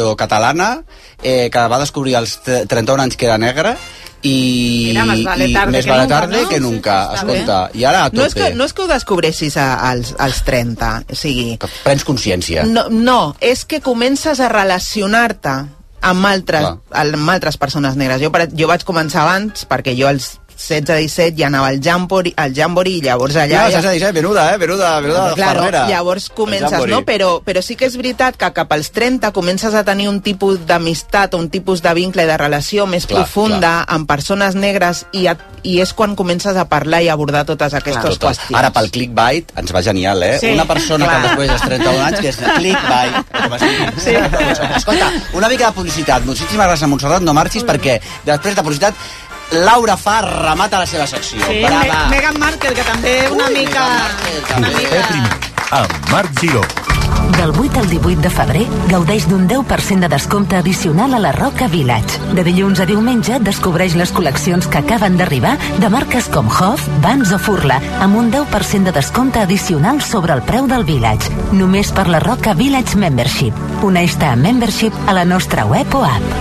S4: afrocatalana eh, que va descobrir als tre- 31 anys que era negra i,
S14: Mira, más vale
S4: i
S14: tarde
S4: més
S14: que
S4: vale
S14: nunca,
S4: tarde
S14: no?
S4: que nunca.
S14: està
S4: Escolta, i ara a tope.
S14: No és, que, no és que ho descobreixis a, als, als 30, o sigui...
S4: Prens consciència.
S14: No, no, és que comences a relacionar-te amb altres, amb altres persones negres. Jo, per, jo vaig començar abans perquè jo als 16-17 ja anava al Jamboree, al Jamboree i llavors allà...
S4: Ja, ja, ja, venuda, eh? Venuda, venuda de
S14: Claro,
S4: Ferrera.
S14: llavors comences,
S4: El
S14: no?
S4: Jamboree.
S14: Però, però sí que és veritat que cap als 30 comences a tenir un tipus d'amistat, un tipus de vincle i de relació més
S4: Clar,
S14: profunda amb persones negres i, et, i és quan comences a parlar i abordar totes aquestes
S4: Totes.
S14: qüestions.
S4: Ara, pel clickbait, ens va genial, eh?
S14: Sí.
S4: Una persona
S14: Clar.
S4: que després dels 31 anys, que és clickbait, com
S7: [LAUGHS]
S4: es diu. Sí. Escolta, una mica de publicitat. Moltíssimes gràcies, Montserrat, no marxis, perquè després de publicitat, Laura fa remata la seva secció.
S1: Sí,
S4: Brava.
S1: Me- Meghan Markle, que també una mica... Una mica...
S10: amb Marc Giró.
S17: Del 8 al 18 de febrer, gaudeix d'un 10% de descompte addicional a la Roca Village. De dilluns a diumenge, descobreix les col·leccions que acaben d'arribar de marques com Hof, Vans o Furla, amb un 10% de descompte addicional sobre el preu del Village. Només per la Roca Village Membership. Uneix-te a Membership a la nostra web o app.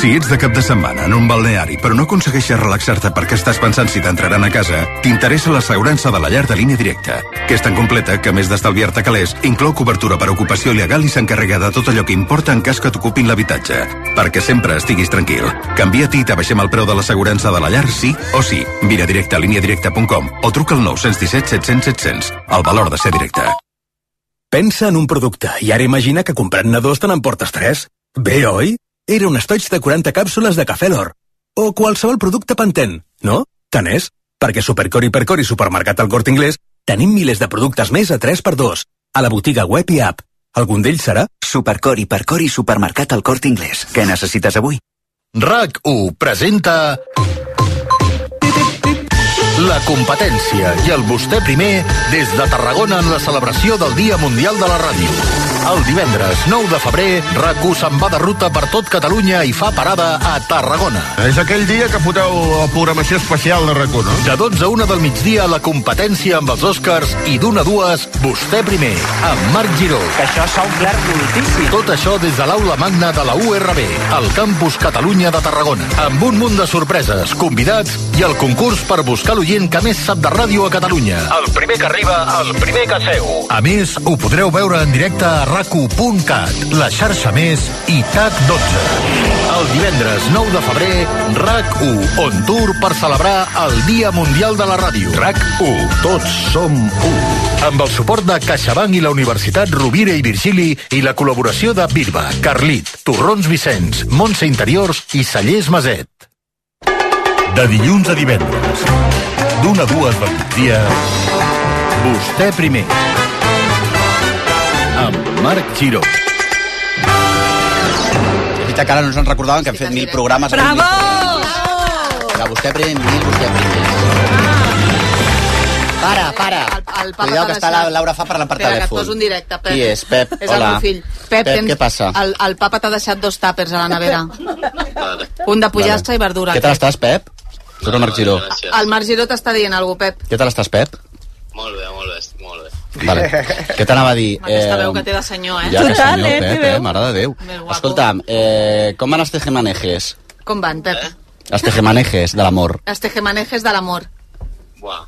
S10: Si ets de cap de setmana en un balneari però no aconsegueixes relaxar-te perquè estàs pensant si t'entraran a casa, t'interessa l'assegurança de la llar de línia directa, que és tan completa que, a més d'estalviar-te calés, inclou cobertura per ocupació il·legal i s'encarrega de tot allò que importa en cas que t'ocupin l'habitatge. Perquè sempre estiguis tranquil. Canvia-t'hi i t'abaixem el preu de l'assegurança de la llar sí o sí. Vine directe a líniadirecta.com o truca al 917 700 700. El valor de ser directe.
S2: Pensa en un producte i ara imagina que comprant-ne dos te n'emportes tres. Bé, oi? Era un estoig de 40 càpsules de cafè l'or. O qualsevol producte Pantene, no? Tant és, perquè a Supercor, Hipercor i Supermercat al Corte Inglés tenim milers de productes més a 3x2, a la botiga web i app. Algun d'ells serà? Supercor, Hipercor i Supermercat al Corte Inglés. Què necessites avui?
S10: RAC1 presenta... La competència i el vostè primer des de Tarragona en la celebració del Dia Mundial de la Ràdio. El divendres 9 de febrer, rac se'n va de ruta per tot Catalunya i fa parada a Tarragona.
S19: És aquell dia que foteu la programació especial de rac no?
S10: De 12 a 1 del migdia, la competència amb els Oscars i d'una a dues, vostè primer, amb Marc Giró. Que això s'ha omplert moltíssim. Tot això des de l'aula magna de la URB, al campus Catalunya de Tarragona, amb un munt de sorpreses, convidats i el concurs per buscar l'oient que més sap de ràdio a Catalunya.
S2: El primer que arriba, el primer que seu.
S10: A més, ho podreu veure en directe a racu.cat, la xarxa més i TAC12. El divendres 9 de febrer, RAC1, on tour per celebrar el Dia Mundial de la Ràdio. RAC1, tots som u. Amb el suport de CaixaBank i la Universitat Rovira i Virgili i la col·laboració de Birba, Carlit, Torrons Vicenç, Montse Interiors i Sallés Maset. De dilluns a divendres, d'una a dues del migdia, vostè primer. Amb Marc Giró.
S4: Mira que ara no ens en recordàvem que hem fet mil programes. Bravo! De vostè primer, mil vostè primer. Para, para.
S7: El papa
S4: Cuidao
S7: t'ha
S4: que està la
S7: deixat.
S4: Laura fa parlant per
S7: Espera, que et
S4: telèfon.
S7: poso un directe, Pep.
S4: Qui és? Pep,
S7: És
S4: hola.
S7: el meu fill.
S4: Pep,
S7: tens-
S4: què passa?
S7: El, el papa t'ha deixat dos tàpers a la nevera. Un de pollastre i verdura.
S4: Què te l'estàs, Pep? Sóc el Marc Giró.
S7: El Marc Giró t'està dient alguna cosa, Pep.
S4: Què te l'estàs, Pep?
S7: [LAUGHS]
S4: Molt bé, molt bé, molt bé. Vale. Què t'anava a dir?
S7: Aquesta veu que té de senyor, eh?
S4: Ja, que senyor, Pep, eh? Mare de Déu. Escolta'm, eh, com van els tejemanejes?
S7: Com van, Pep?
S9: Eh?
S4: Els tejemanejes de l'amor.
S7: Els tejemanejes de l'amor.
S14: Buah.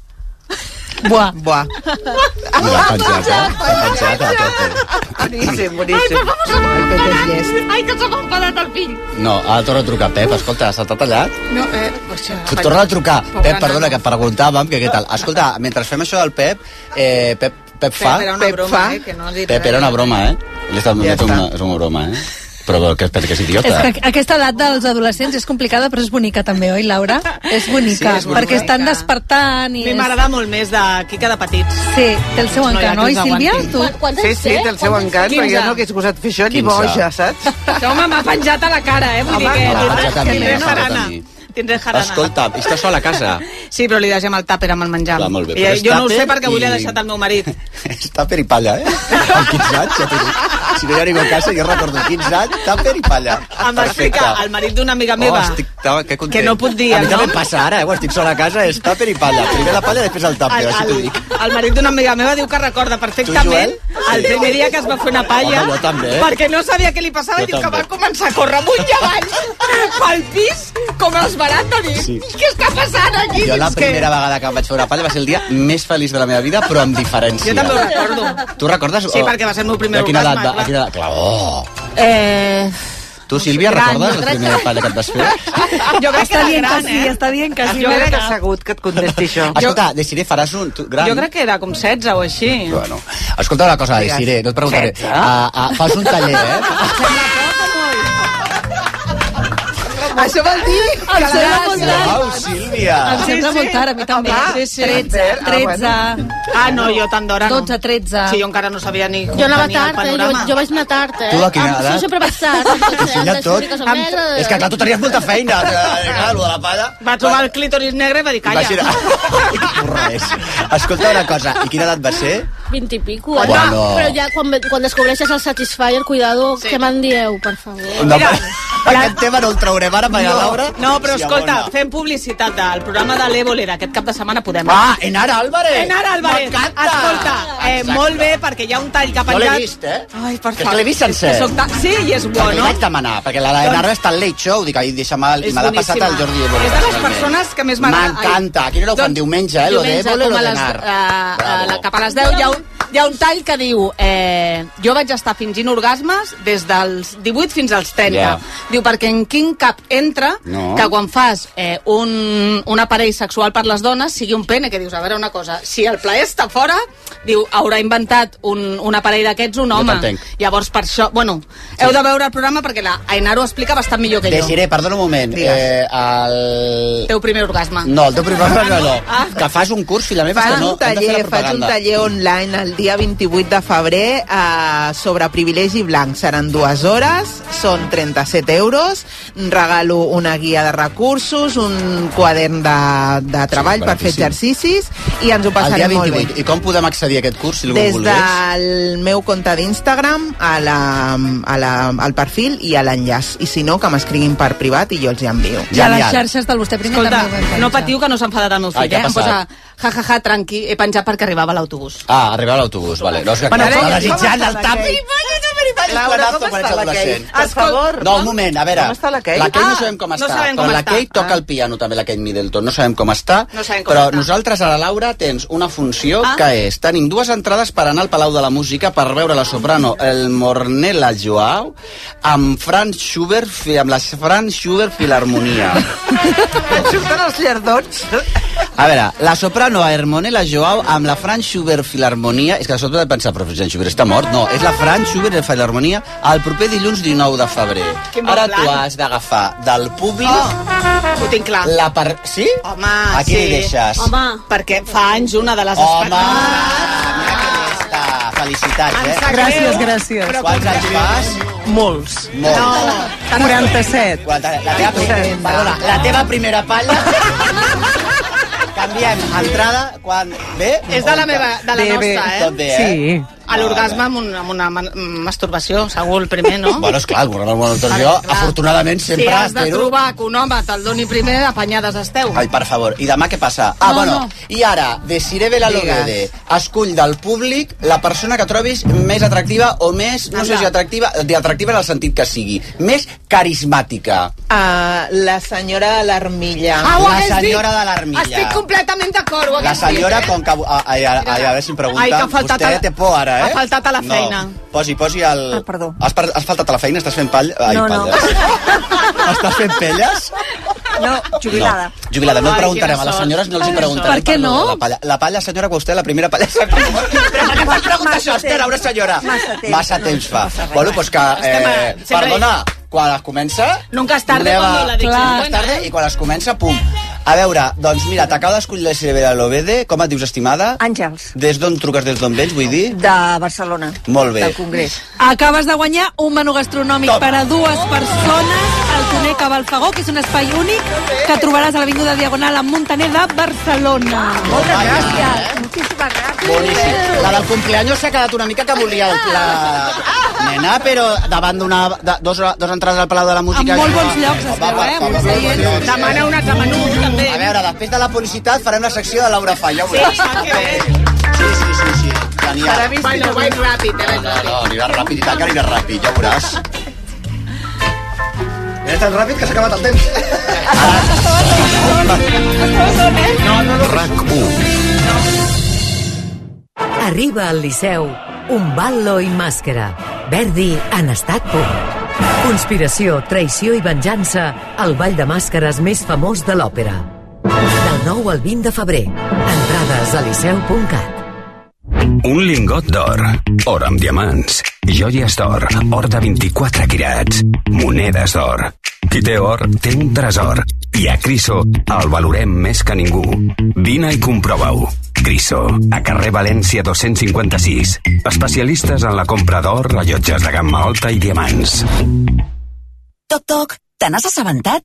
S14: Buah.
S7: [LAUGHS]
S4: Mira, penjat, eh? Penjat a tope.
S9: Boníssim, boníssim.
S7: Ai,
S9: Ai, Pep és llest.
S7: Ai, que s'ha enfadat el fill.
S4: No, ara torna a trucar, Pep. Escolta, s'ha tallat?
S7: No, eh, això...
S4: Tu Torna a trucar.
S7: Pobre
S4: Pep,
S7: nano.
S4: perdona, que et preguntàvem que què tal. Escolta, mentre fem això del Pep, eh, Pep, Pep fa...
S7: Pep era una broma, eh, que no li
S4: Pep era una broma, eh? Li està,
S7: Ja
S4: ja
S7: està.
S4: una, és una broma, eh? Però que, que, que és idiota.
S13: És que aquesta edat dels adolescents és complicada, però és bonica també, oi, Laura? És bonica,
S7: Sí, és bonica.
S13: perquè estan despertant
S1: A
S13: i...
S1: mi m'agrada molt més d'aquí que de petits.
S13: Sí, té el seu encant, oi, Sílvia? Tu?
S9: Sí, sí, del seu encant, perquè jo no hagués gosat fer això ni
S13: 15.
S9: boja, saps?
S1: Això, home, m'ha penjat a la cara, eh? Vull dir
S9: Home,
S1: que...
S4: m'ha
S11: Ah,
S1: tindré-
S4: penjat a
S11: eh?
S4: mi,
S1: tindré
S4: m'ha penjat a
S1: jarana.
S4: mi.
S1: Tindré jarana.
S4: Escolta, està sola a
S7: [LAUGHS]
S4: casa.
S7: Sí, però li deixem el tàper amb el menjar.
S4: Clar, molt bé,
S1: I,
S4: però és
S1: jo no ho sé
S4: tàper
S1: perquè avui
S4: i-
S1: l'he deixat al meu marit.
S7: [LAUGHS]
S4: Està per i palla, eh? Amb 15 anys, ja t'ho dic. si no hi ha ningú a casa, jo recordo 15 anys, tàper i palla.
S7: Em va explicar el marit d'una amiga meva.
S4: Oh, estic, ta, que, content.
S7: Que no puc dir
S4: A mi
S7: el
S4: també
S7: nom.
S4: em passa ara, eh? quan estic sola a casa, és tàper i palla. Primer la palla, després el tàper,
S7: El,
S4: així t'ho
S7: el,
S4: dic.
S7: el marit d'una amiga meva diu que recorda perfectament el primer dia que es va fer una palla
S4: Home, jo també. eh?
S7: perquè no sabia què li passava
S4: Jo
S7: i diu que
S4: també.
S7: va començar a córrer amunt i avall pel pis com els baràtoni.
S4: Sí.
S7: Sí. Què està passant aquí?
S4: Jo la
S7: Dius que-
S4: primera vegada que em vaig fer una palla va ser el dia més feliç de la meva vida, però amb diferència.
S7: Jo també ho recordo.
S4: Tu recordes?
S7: Sí, perquè va ser el meu primer
S4: De quina edat?
S7: orgasme,
S4: va- A quina edat? Clar, oh.
S7: Eh,
S4: Tu, Sílvia,
S7: Gran,
S4: recordes
S7: jo
S4: la
S7: crec
S4: primera
S7: que-
S4: palla que et vas fer?
S7: jo crec que
S13: Està
S7: era
S13: dient
S7: gran,
S13: que sí,
S7: eh?
S13: està dient que sí.
S7: Jo crec que,
S9: assegut que et contesti això.
S4: Escolta, Desiré, faràs un... Tu, gran.
S7: jo crec que era com 16 o així.
S4: Bueno, escolta una cosa, Desiré, no et preguntaré.
S7: Setze?
S4: Ah, ah, fas un taller,
S7: [LAUGHS]
S4: [LAUGHS] eh?
S14: Ah, Això vol dir que la
S13: sembla molt gran.
S14: gràcia...
S4: Au, Sílvia!
S13: Em sembla molt tard, a mi també. Sí,
S14: Home,
S13: sí. 13,
S14: Ah, bueno.
S13: 13.
S7: Ah, no, jo tant d'hora no.
S13: 12, 13.
S7: Sí, jo encara no sabia ni com
S11: Jo anava
S7: tenia el
S11: tard, eh? jo,
S7: panorama.
S11: jo vaig anar tard, eh?
S4: Tu a quina
S11: Em-
S4: edat?
S11: Sí, sempre vaig
S4: [LAUGHS]
S11: tard.
S4: Ensenya tot. Amb- És que clar, tu tenies molta feina. eh, Clar, lo de la palla.
S7: Va trobar el clítoris negre i va dir,
S4: I
S7: [LAUGHS]
S4: va ser...
S7: calla.
S4: Res. Escolta una cosa, i quina edat va ser?
S11: 20 i pico.
S4: Home.
S11: eh?
S4: Bueno.
S11: Però ja quan, quan descobreixes el Satisfyer, cuidado, sí. què me'n dieu, per favor?
S4: No, Mira, aquest tema no el traurem ara, perquè
S7: No,
S4: Laura...
S7: no, però
S4: s'hi
S7: escolta,
S4: abona.
S7: fem publicitat del programa de l'Ébolera. Aquest cap de setmana podem...
S4: Ah, Enara Álvarez!
S7: Enara Álvarez!
S4: M'encanta!
S7: Escolta, eh,
S4: Exacte.
S7: molt bé, perquè hi ha un tall que ha
S4: Jo
S7: penjat...
S4: l'he vist, eh?
S7: Ai, per
S4: Que és
S7: favor.
S4: que l'he vist sencer.
S7: Que soc ta- Sí, i és bo,
S4: Perquè li
S7: no?
S4: vaig demanar, perquè la de Narra està al Late Show, dic, ai, deixa'm el...
S7: Doncs
S4: I
S7: És
S4: me l'ha passat
S7: boníssima.
S4: el Jordi de
S7: És de les persones que més m'agrada. Doncs
S4: M'encanta. A quina hora ho fan? Diumenge, eh? Lo de
S7: Diumenge,
S4: Évole,
S7: com
S4: lo
S7: a
S4: de
S7: les,
S4: Nar.
S7: eh, a la, cap a les 10 hi ha, un, hi ha un tall que diu eh, jo vaig estar fingint orgasmes des dels 18 fins als 30.
S4: Ja.
S7: Diu, perquè en quin cap entra
S4: No.
S7: que quan fas eh, un, un aparell sexual per les dones sigui un pene, que dius, a veure una cosa, si el plaer està fora, diu, haurà inventat un, un aparell d'aquests un
S4: Jo
S7: home.
S4: t'entenc.
S7: Llavors, per això, bueno, heu de veure el programa perquè la Ainaro explica bastant millor que jo.
S4: Desiré, perdona un moment. Eh, el...
S7: Teu primer orgasme. Ah,
S4: No, el teu primer no, no. Que fas un curs, filla meva, és
S14: Faig
S4: que no,
S14: un
S4: hem de fer la
S14: taller, faig un
S4: propaganda.
S14: taller online el dia 28 de febrer eh, sobre privilegi blanc. Seran dues hores, són 37 euros, regalo una guia de recursos, un quadern de, de treball per fer
S4: baratíssim.
S14: exercicis i ens ho
S4: El dia
S14: passarem molt bé.
S4: 28. I com podem accedir a aquest curs, si algú
S14: Des
S4: volgués?
S14: del meu compte d'Instagram a la, a la, al perfil i a l'enllaç. I si no, que m'escriguin per privat i jo els hi envio.
S13: I a les xarxes del vostè primer
S7: Escolta,
S13: també ho vaig
S7: no
S13: penjar.
S7: patiu que no s'ha enfadat el meu
S4: Ai,
S7: fill,
S4: què ha
S7: eh? Em posa,
S4: passat?
S7: ja, ja, ja, tranqui, he penjat perquè arribava l'autobús.
S4: Ah, arribar a l'autobús, vale. No, és que
S7: Bueno,
S4: clar,
S7: com-
S4: estava desitjant
S7: com
S4: el
S7: està
S4: tap.
S7: la
S4: Laura, com està la Kate?
S9: Per favor.
S4: No, un moment, a veure.
S9: Com està la Kate?
S4: La Kate
S9: Ah,
S4: no sabem com
S9: no
S4: està,
S9: sabem
S4: però
S9: com
S4: la
S9: està.
S4: Kate toca
S9: Ah.
S4: el piano també, la Kate Middleton. No sabem com està,
S9: No sabem com
S4: però
S9: està. Ah.
S4: nosaltres a la Laura tens una funció que és tenim dues entrades per anar al Palau de la Música per veure la soprano el Mornella Joao amb Franz Schubert, fi- amb la Franz Schubert
S9: [LAUGHS]
S4: Filharmonia.
S9: Et surten els llardons.
S4: A veure, la soprano Hermonella Joao amb la Franz Schubert Filharmonia... És que de sobte de pensar, però Franz Schubert està mort? No, és la Franz Schubert Filharmonia el proper dilluns 19 de febrer.
S7: Quin bon
S4: Ara
S7: plan.
S4: tu has d'agafar del públic
S7: Oh, ho tinc clar.
S4: la part... Sí?
S7: Home,
S4: A qui
S7: sí.
S4: li deixes?
S7: Home, perquè fa anys una de les... Ah,
S4: Home,
S7: espectadores-
S4: Ah, felicitats,
S7: Em
S4: eh?
S7: sap greu, però
S4: Quants anys fas?
S20: Molts.
S4: Molts.
S7: No,
S20: 47.
S4: La teva, primera, perdona, la teva primera palla... Canviem entrada quan... Bé?
S7: És de la meva, de la
S4: Bé, bé.
S7: nostra, eh?
S4: Tot bé, eh?
S7: A l'orgasme amb, un, amb una man- masturbació, segur, el primer, no?
S4: Bueno, esclar, el programa de nutrició, afortunadament, sempre
S7: si has de
S4: espero...
S7: trobar que un home te'l doni primer, apanyades esteu.
S4: Ai, per favor, i demà què passa? Ah,
S7: No,
S4: bueno,
S7: no.
S4: i ara, de Sireve la Logede, escull del públic la persona que trobis més atractiva o més, no sé si atractiva, de atractiva en el sentit que sigui, més carismàtica.
S14: Uh, la senyora de l'Armilla.
S7: Ah, ho
S4: la
S7: hagués dit.
S4: senyora de l'Armilla.
S7: Estic completament d'acord, ho
S4: La
S7: hagués
S4: senyora,
S7: dit, eh?
S4: com que... A, a, a, a, veure si em pregunta...
S7: Ai, que ha faltat
S4: Vostè
S7: a la-
S4: té por ara, eh?
S7: ha faltat a la feina.
S4: No. Posi, posi el...
S7: Ah, perdó.
S4: Has, per, has faltat a la feina? Estàs fent pall... Ai,
S7: No, ah, no.
S4: palles. Estàs fent pelles?
S13: No, jubilada.
S4: No, jubilada. No
S13: Ai,
S4: preguntarem
S13: quina
S4: a les
S13: sort.
S4: senyores, no els hi
S13: Quina
S4: preguntarem.
S13: sort. Per què
S4: lo
S13: no?
S4: de La palla, la palla senyora, que vostè, la primera palla... Però per què em pregunta això, Esther, a una senyora?
S7: Massa temps.
S4: Massa temps fa. Bueno, doncs que... Eh,
S7: Estem a- sempre-
S4: perdona, quan es comença...
S7: Nunca es tarde
S4: doneu a-
S7: cuando la adicción
S4: Clar,
S7: buena,
S4: és tarde,
S7: eh?
S4: I quan es comença, pum. A veure, doncs mira, t'acaba d'escollir la Cervera Lobede. Com et dius, estimada?
S13: Àngels.
S4: Des d'on truques, des d'on vens, vull dir?
S13: De Barcelona.
S4: Molt bé.
S13: Acabes de guanyar un menú gastronòmic per a dues persones a al Conec a Balfagó, que és un espai únic que trobaràs a l'Avinguda Diagonal a Montaner de Barcelona.
S7: Moltes gràcies. Moltíssimes gràcies. Boníssim. La del cumpleaños s'ha quedat una mica que volia el pla... Nena, però davant d'una... de- Dos, dos entrades al Palau de la Música...
S13: Amb molt
S7: això-
S13: bons llocs, es
S7: Va,
S13: veu,
S7: va,
S13: eh?
S7: va,
S13: Molts
S7: va, va,
S13: seients.
S7: va, va, va.
S13: Demana un altre menú, també.
S7: A veure, després de la publicitat farem la secció de Laura Falla. Ja ho veuràs. Sí, sí, sí, sí. Genial.
S21: Para mí, bueno, vaig ràpid, eh, vaig
S7: No,
S21: ràpid.
S7: no, anirà ràpid i tant que anirà ràpid, ja ho veuràs. Era tan ràpid que s'ha acabat el temps.
S13: No, no, no.
S22: Arriba al Liceu un ballo i màscara. Verdi en estat pur. Conspiració, traïció i venjança, el ball de màscares més famós de l'òpera. Del 9 al 20 de febrer. Entrades a liceu.cat.
S2: Un lingot d'or, or amb diamants, joies d'or, or de 24 quirats, monedes d'or. Qui té or té un tresor i a Criso el valorem més que ningú. Vine i comprova-ho. Criso, a carrer València 256. Especialistes en la compra d'or, rellotges de gamma alta i diamants.
S17: Toc, toc, te n'has assabentat?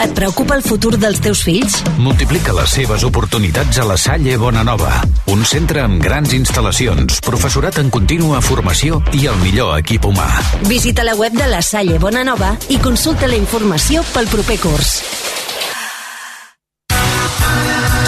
S23: Et preocupa el futur dels teus fills?
S24: Multiplica les seves oportunitats a la Salle Bonanova, un centre amb grans instal·lacions, professorat en contínua formació i el millor equip humà.
S23: Visita la web de la Salle Bonanova i consulta la informació pel proper curs.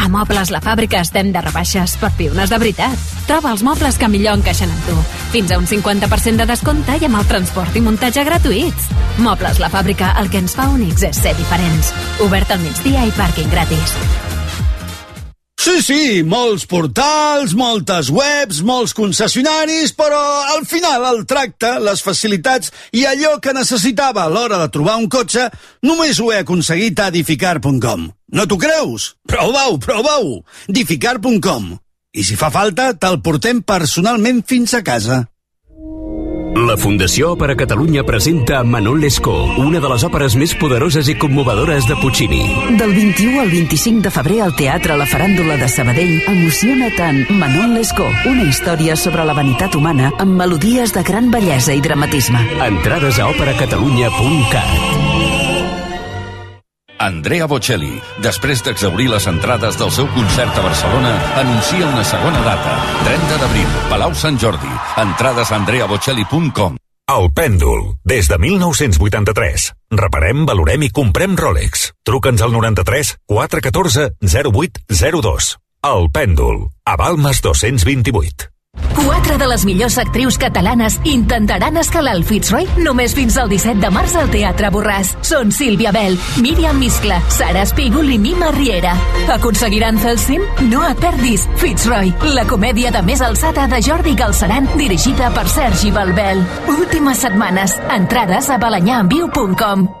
S25: A Mobles La Fàbrica estem de rebaixes per piunes de veritat. Troba els mobles que millor encaixen amb tu. Fins a un 50% de descompte i amb el transport i muntatge gratuïts. Mobles La Fàbrica, el que ens fa únics és ser diferents. Obert al migdia i pàrquing gratis.
S26: Sí, sí, molts portals, moltes webs, molts concessionaris, però al final el tracte, les facilitats i allò que necessitava a l'hora de trobar un cotxe només ho he aconseguit a edificar.com. No t'ho creus? Prova-ho, prova-ho! edificar.com. I si fa falta, te'l portem personalment fins a casa.
S24: La Fundació per a Catalunya presenta Manon Lescaut, una de les òperes més poderoses i commovedores de Puccini.
S23: Del 21 al 25 de febrer al Teatre La Faràndula de Sabadell emociona tant Manon Lescaut, una història sobre la vanitat humana amb melodies de gran bellesa i dramatisme.
S24: Entrades a operacatalunya.cat
S27: Andrea Bocelli, després d'exaurir les entrades del seu concert a Barcelona, anuncia una segona data. 30 d'abril, Palau Sant Jordi. Entrades a andreabocelli.com.
S28: El Pèndol, des de 1983. Reparem, valorem i comprem Rolex. Truca'ns al 93 414 0802. El Pèndol, a Balmes 228.
S23: Quatre de les millors actrius catalanes intentaran escalar el Fitzroy només fins al 17 de març al Teatre Borràs. Són Sílvia Bell, Míriam Miscla, Sara Espígol i Mima Riera. Aconseguiran fer el cim? No et perdis Fitzroy, la comèdia de més alçada de Jordi Galceran, dirigida per Sergi Balbel. Últimes setmanes. Entrades a balanyaenviu.com.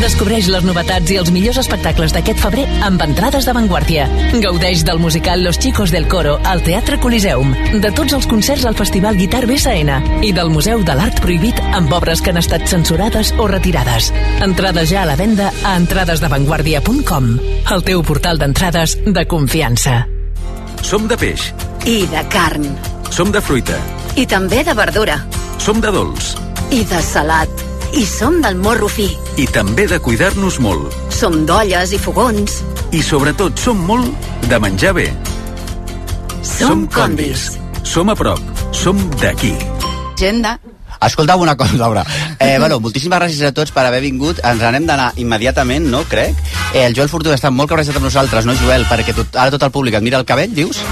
S29: Descobreix les novetats i els millors espectacles d'aquest febrer amb entrades d'avantguàrdia. Gaudeix del musical Los Chicos del Coro al Teatre Coliseum, de tots els concerts al Festival Guitar BSN i del Museu de l'Art Prohibit amb obres que han estat censurades o retirades. Entrades ja a la venda a entradesdavanguardia.com, el teu portal d'entrades de confiança.
S30: Som de peix,
S17: I de carn.
S30: som de fruita,
S17: I també de verdura.
S30: som de dolç
S17: I de salat. I som del morro fi.
S30: i també de cuidar-nos molt.
S17: Som d'olles i fogons.
S30: I sobretot som molt de menjar bé. Som combis. Som a prop, som d'aquí.
S21: Agenda.
S4: Escolta'm una cosa, Laura. Eh, bueno, moltíssimes gràcies a tots per haver vingut. Ens anem d'anar immediatament, no? Crec. Eh, el Joel Fortuna està molt cabrejat amb nosaltres, no, Joel? Perquè tot, ara tot el públic et mira el cabell, dius?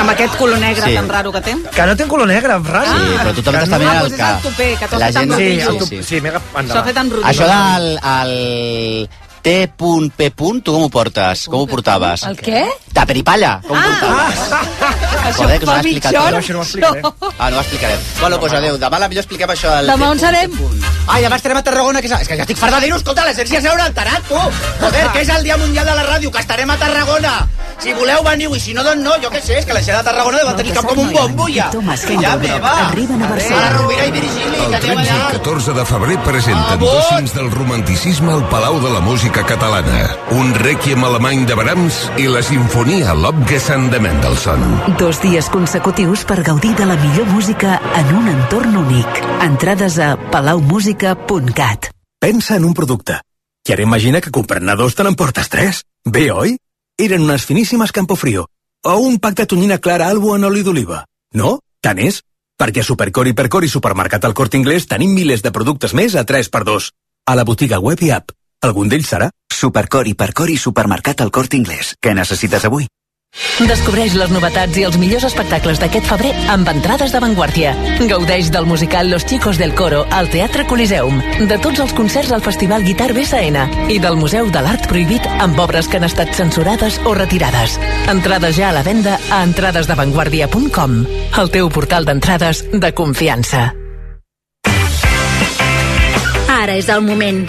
S7: Amb aquest color negre
S13: Sí.
S7: sí. tan raro que té. Ah. doncs
S31: Que no té color negre, és raro.
S13: Sí, però tothom t'està mirant el
S7: és el
S13: cap.
S7: tupé, que t'ho
S13: La
S7: ha fet
S13: gent-
S7: amb
S13: Sí,
S7: rodillos.
S13: el
S31: Sí,
S13: tupé.
S31: sí mega...
S7: S'ho ha fet amb rodillos.
S13: Això del... El... T.P. Tu com ho portes? Com ho portaves?
S32: El què?
S13: Taperipalla. Com ho portaves? Joder, que us ho ha explicat tot.
S32: Això no ho explicaré.
S13: Ah, no ho explicarem. Bueno, doncs adéu. Demà la millor expliquem això del
S32: Demà on serem?
S4: Ai, demà estarem a Tarragona, que és... És que ja estic farta de dir-ho, escolta, l'essència s'haurà alterat, tu! Joder, que és el Dia Mundial de la Ràdio, que estarem a Tarragona! Si voleu, veniu, i si no, doncs no, jo què sé, és que la gent de Tarragona deu tenir cap com un bombo, ja!
S14: Tomàs
S4: Ja
S14: Kendall
S4: ve,
S14: Brock
S4: va!
S14: arriben a
S4: A la
S14: Barcelona.
S4: Rovira i Virgili, que aneu allà!
S33: 14 de febrer presenten dos cims del romanticisme al Palau de la Música Catalana. Un rèquiem alemany de Brahms i la sinfonia Lobgesang de Mendelssohn.
S14: Dos dies consecutius per gaudir de la millor música en un entorn únic. Entrades a palaumusica.cat.
S2: Pensa en un producte. Y ahora imagina que comprarna dos te n'emportes tres. Bé, oi? Eren unas finíssimes Campofrío. O un pack de tonyina clara albo en oli d'oliva. No? Tant és? Perquè a Supercor, Hipercor i Supermercat al Corte Inglés tenim milers de productes més a 3x2. A la botiga web i app. Algun d'ells serà? Supercor, Hipercor i Supermercat al Corte Inglés. Què necessites avui?
S29: Descobreix les novetats i els millors espectacles d'aquest febrer amb entrades d'avantguàrdia. Gaudeix del musical Los Chicos del Coro al Teatre Coliseum, de tots els concerts al Festival Guitar BSN i del Museu de l'Art Prohibit amb obres que han estat censurades o retirades. Entrades ja a la venda a entradesdavanguardia.com, el teu portal d'entrades de confiança.
S17: Ara és el moment.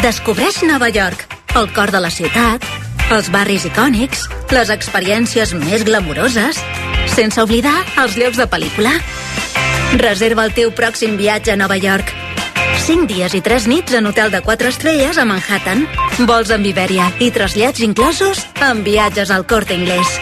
S17: Descobreix Nova York, el cor de la ciutat, els barris icònics, les experiències més glamuroses, sense oblidar els llocs de pel·lícula. Reserva el teu pròxim viatge a Nova York. 5 dies i 3 nits en hotel de 4 estrelles a Manhattan. Vols amb Iberia i trasllats inclosos amb viatges al Corte Inglés.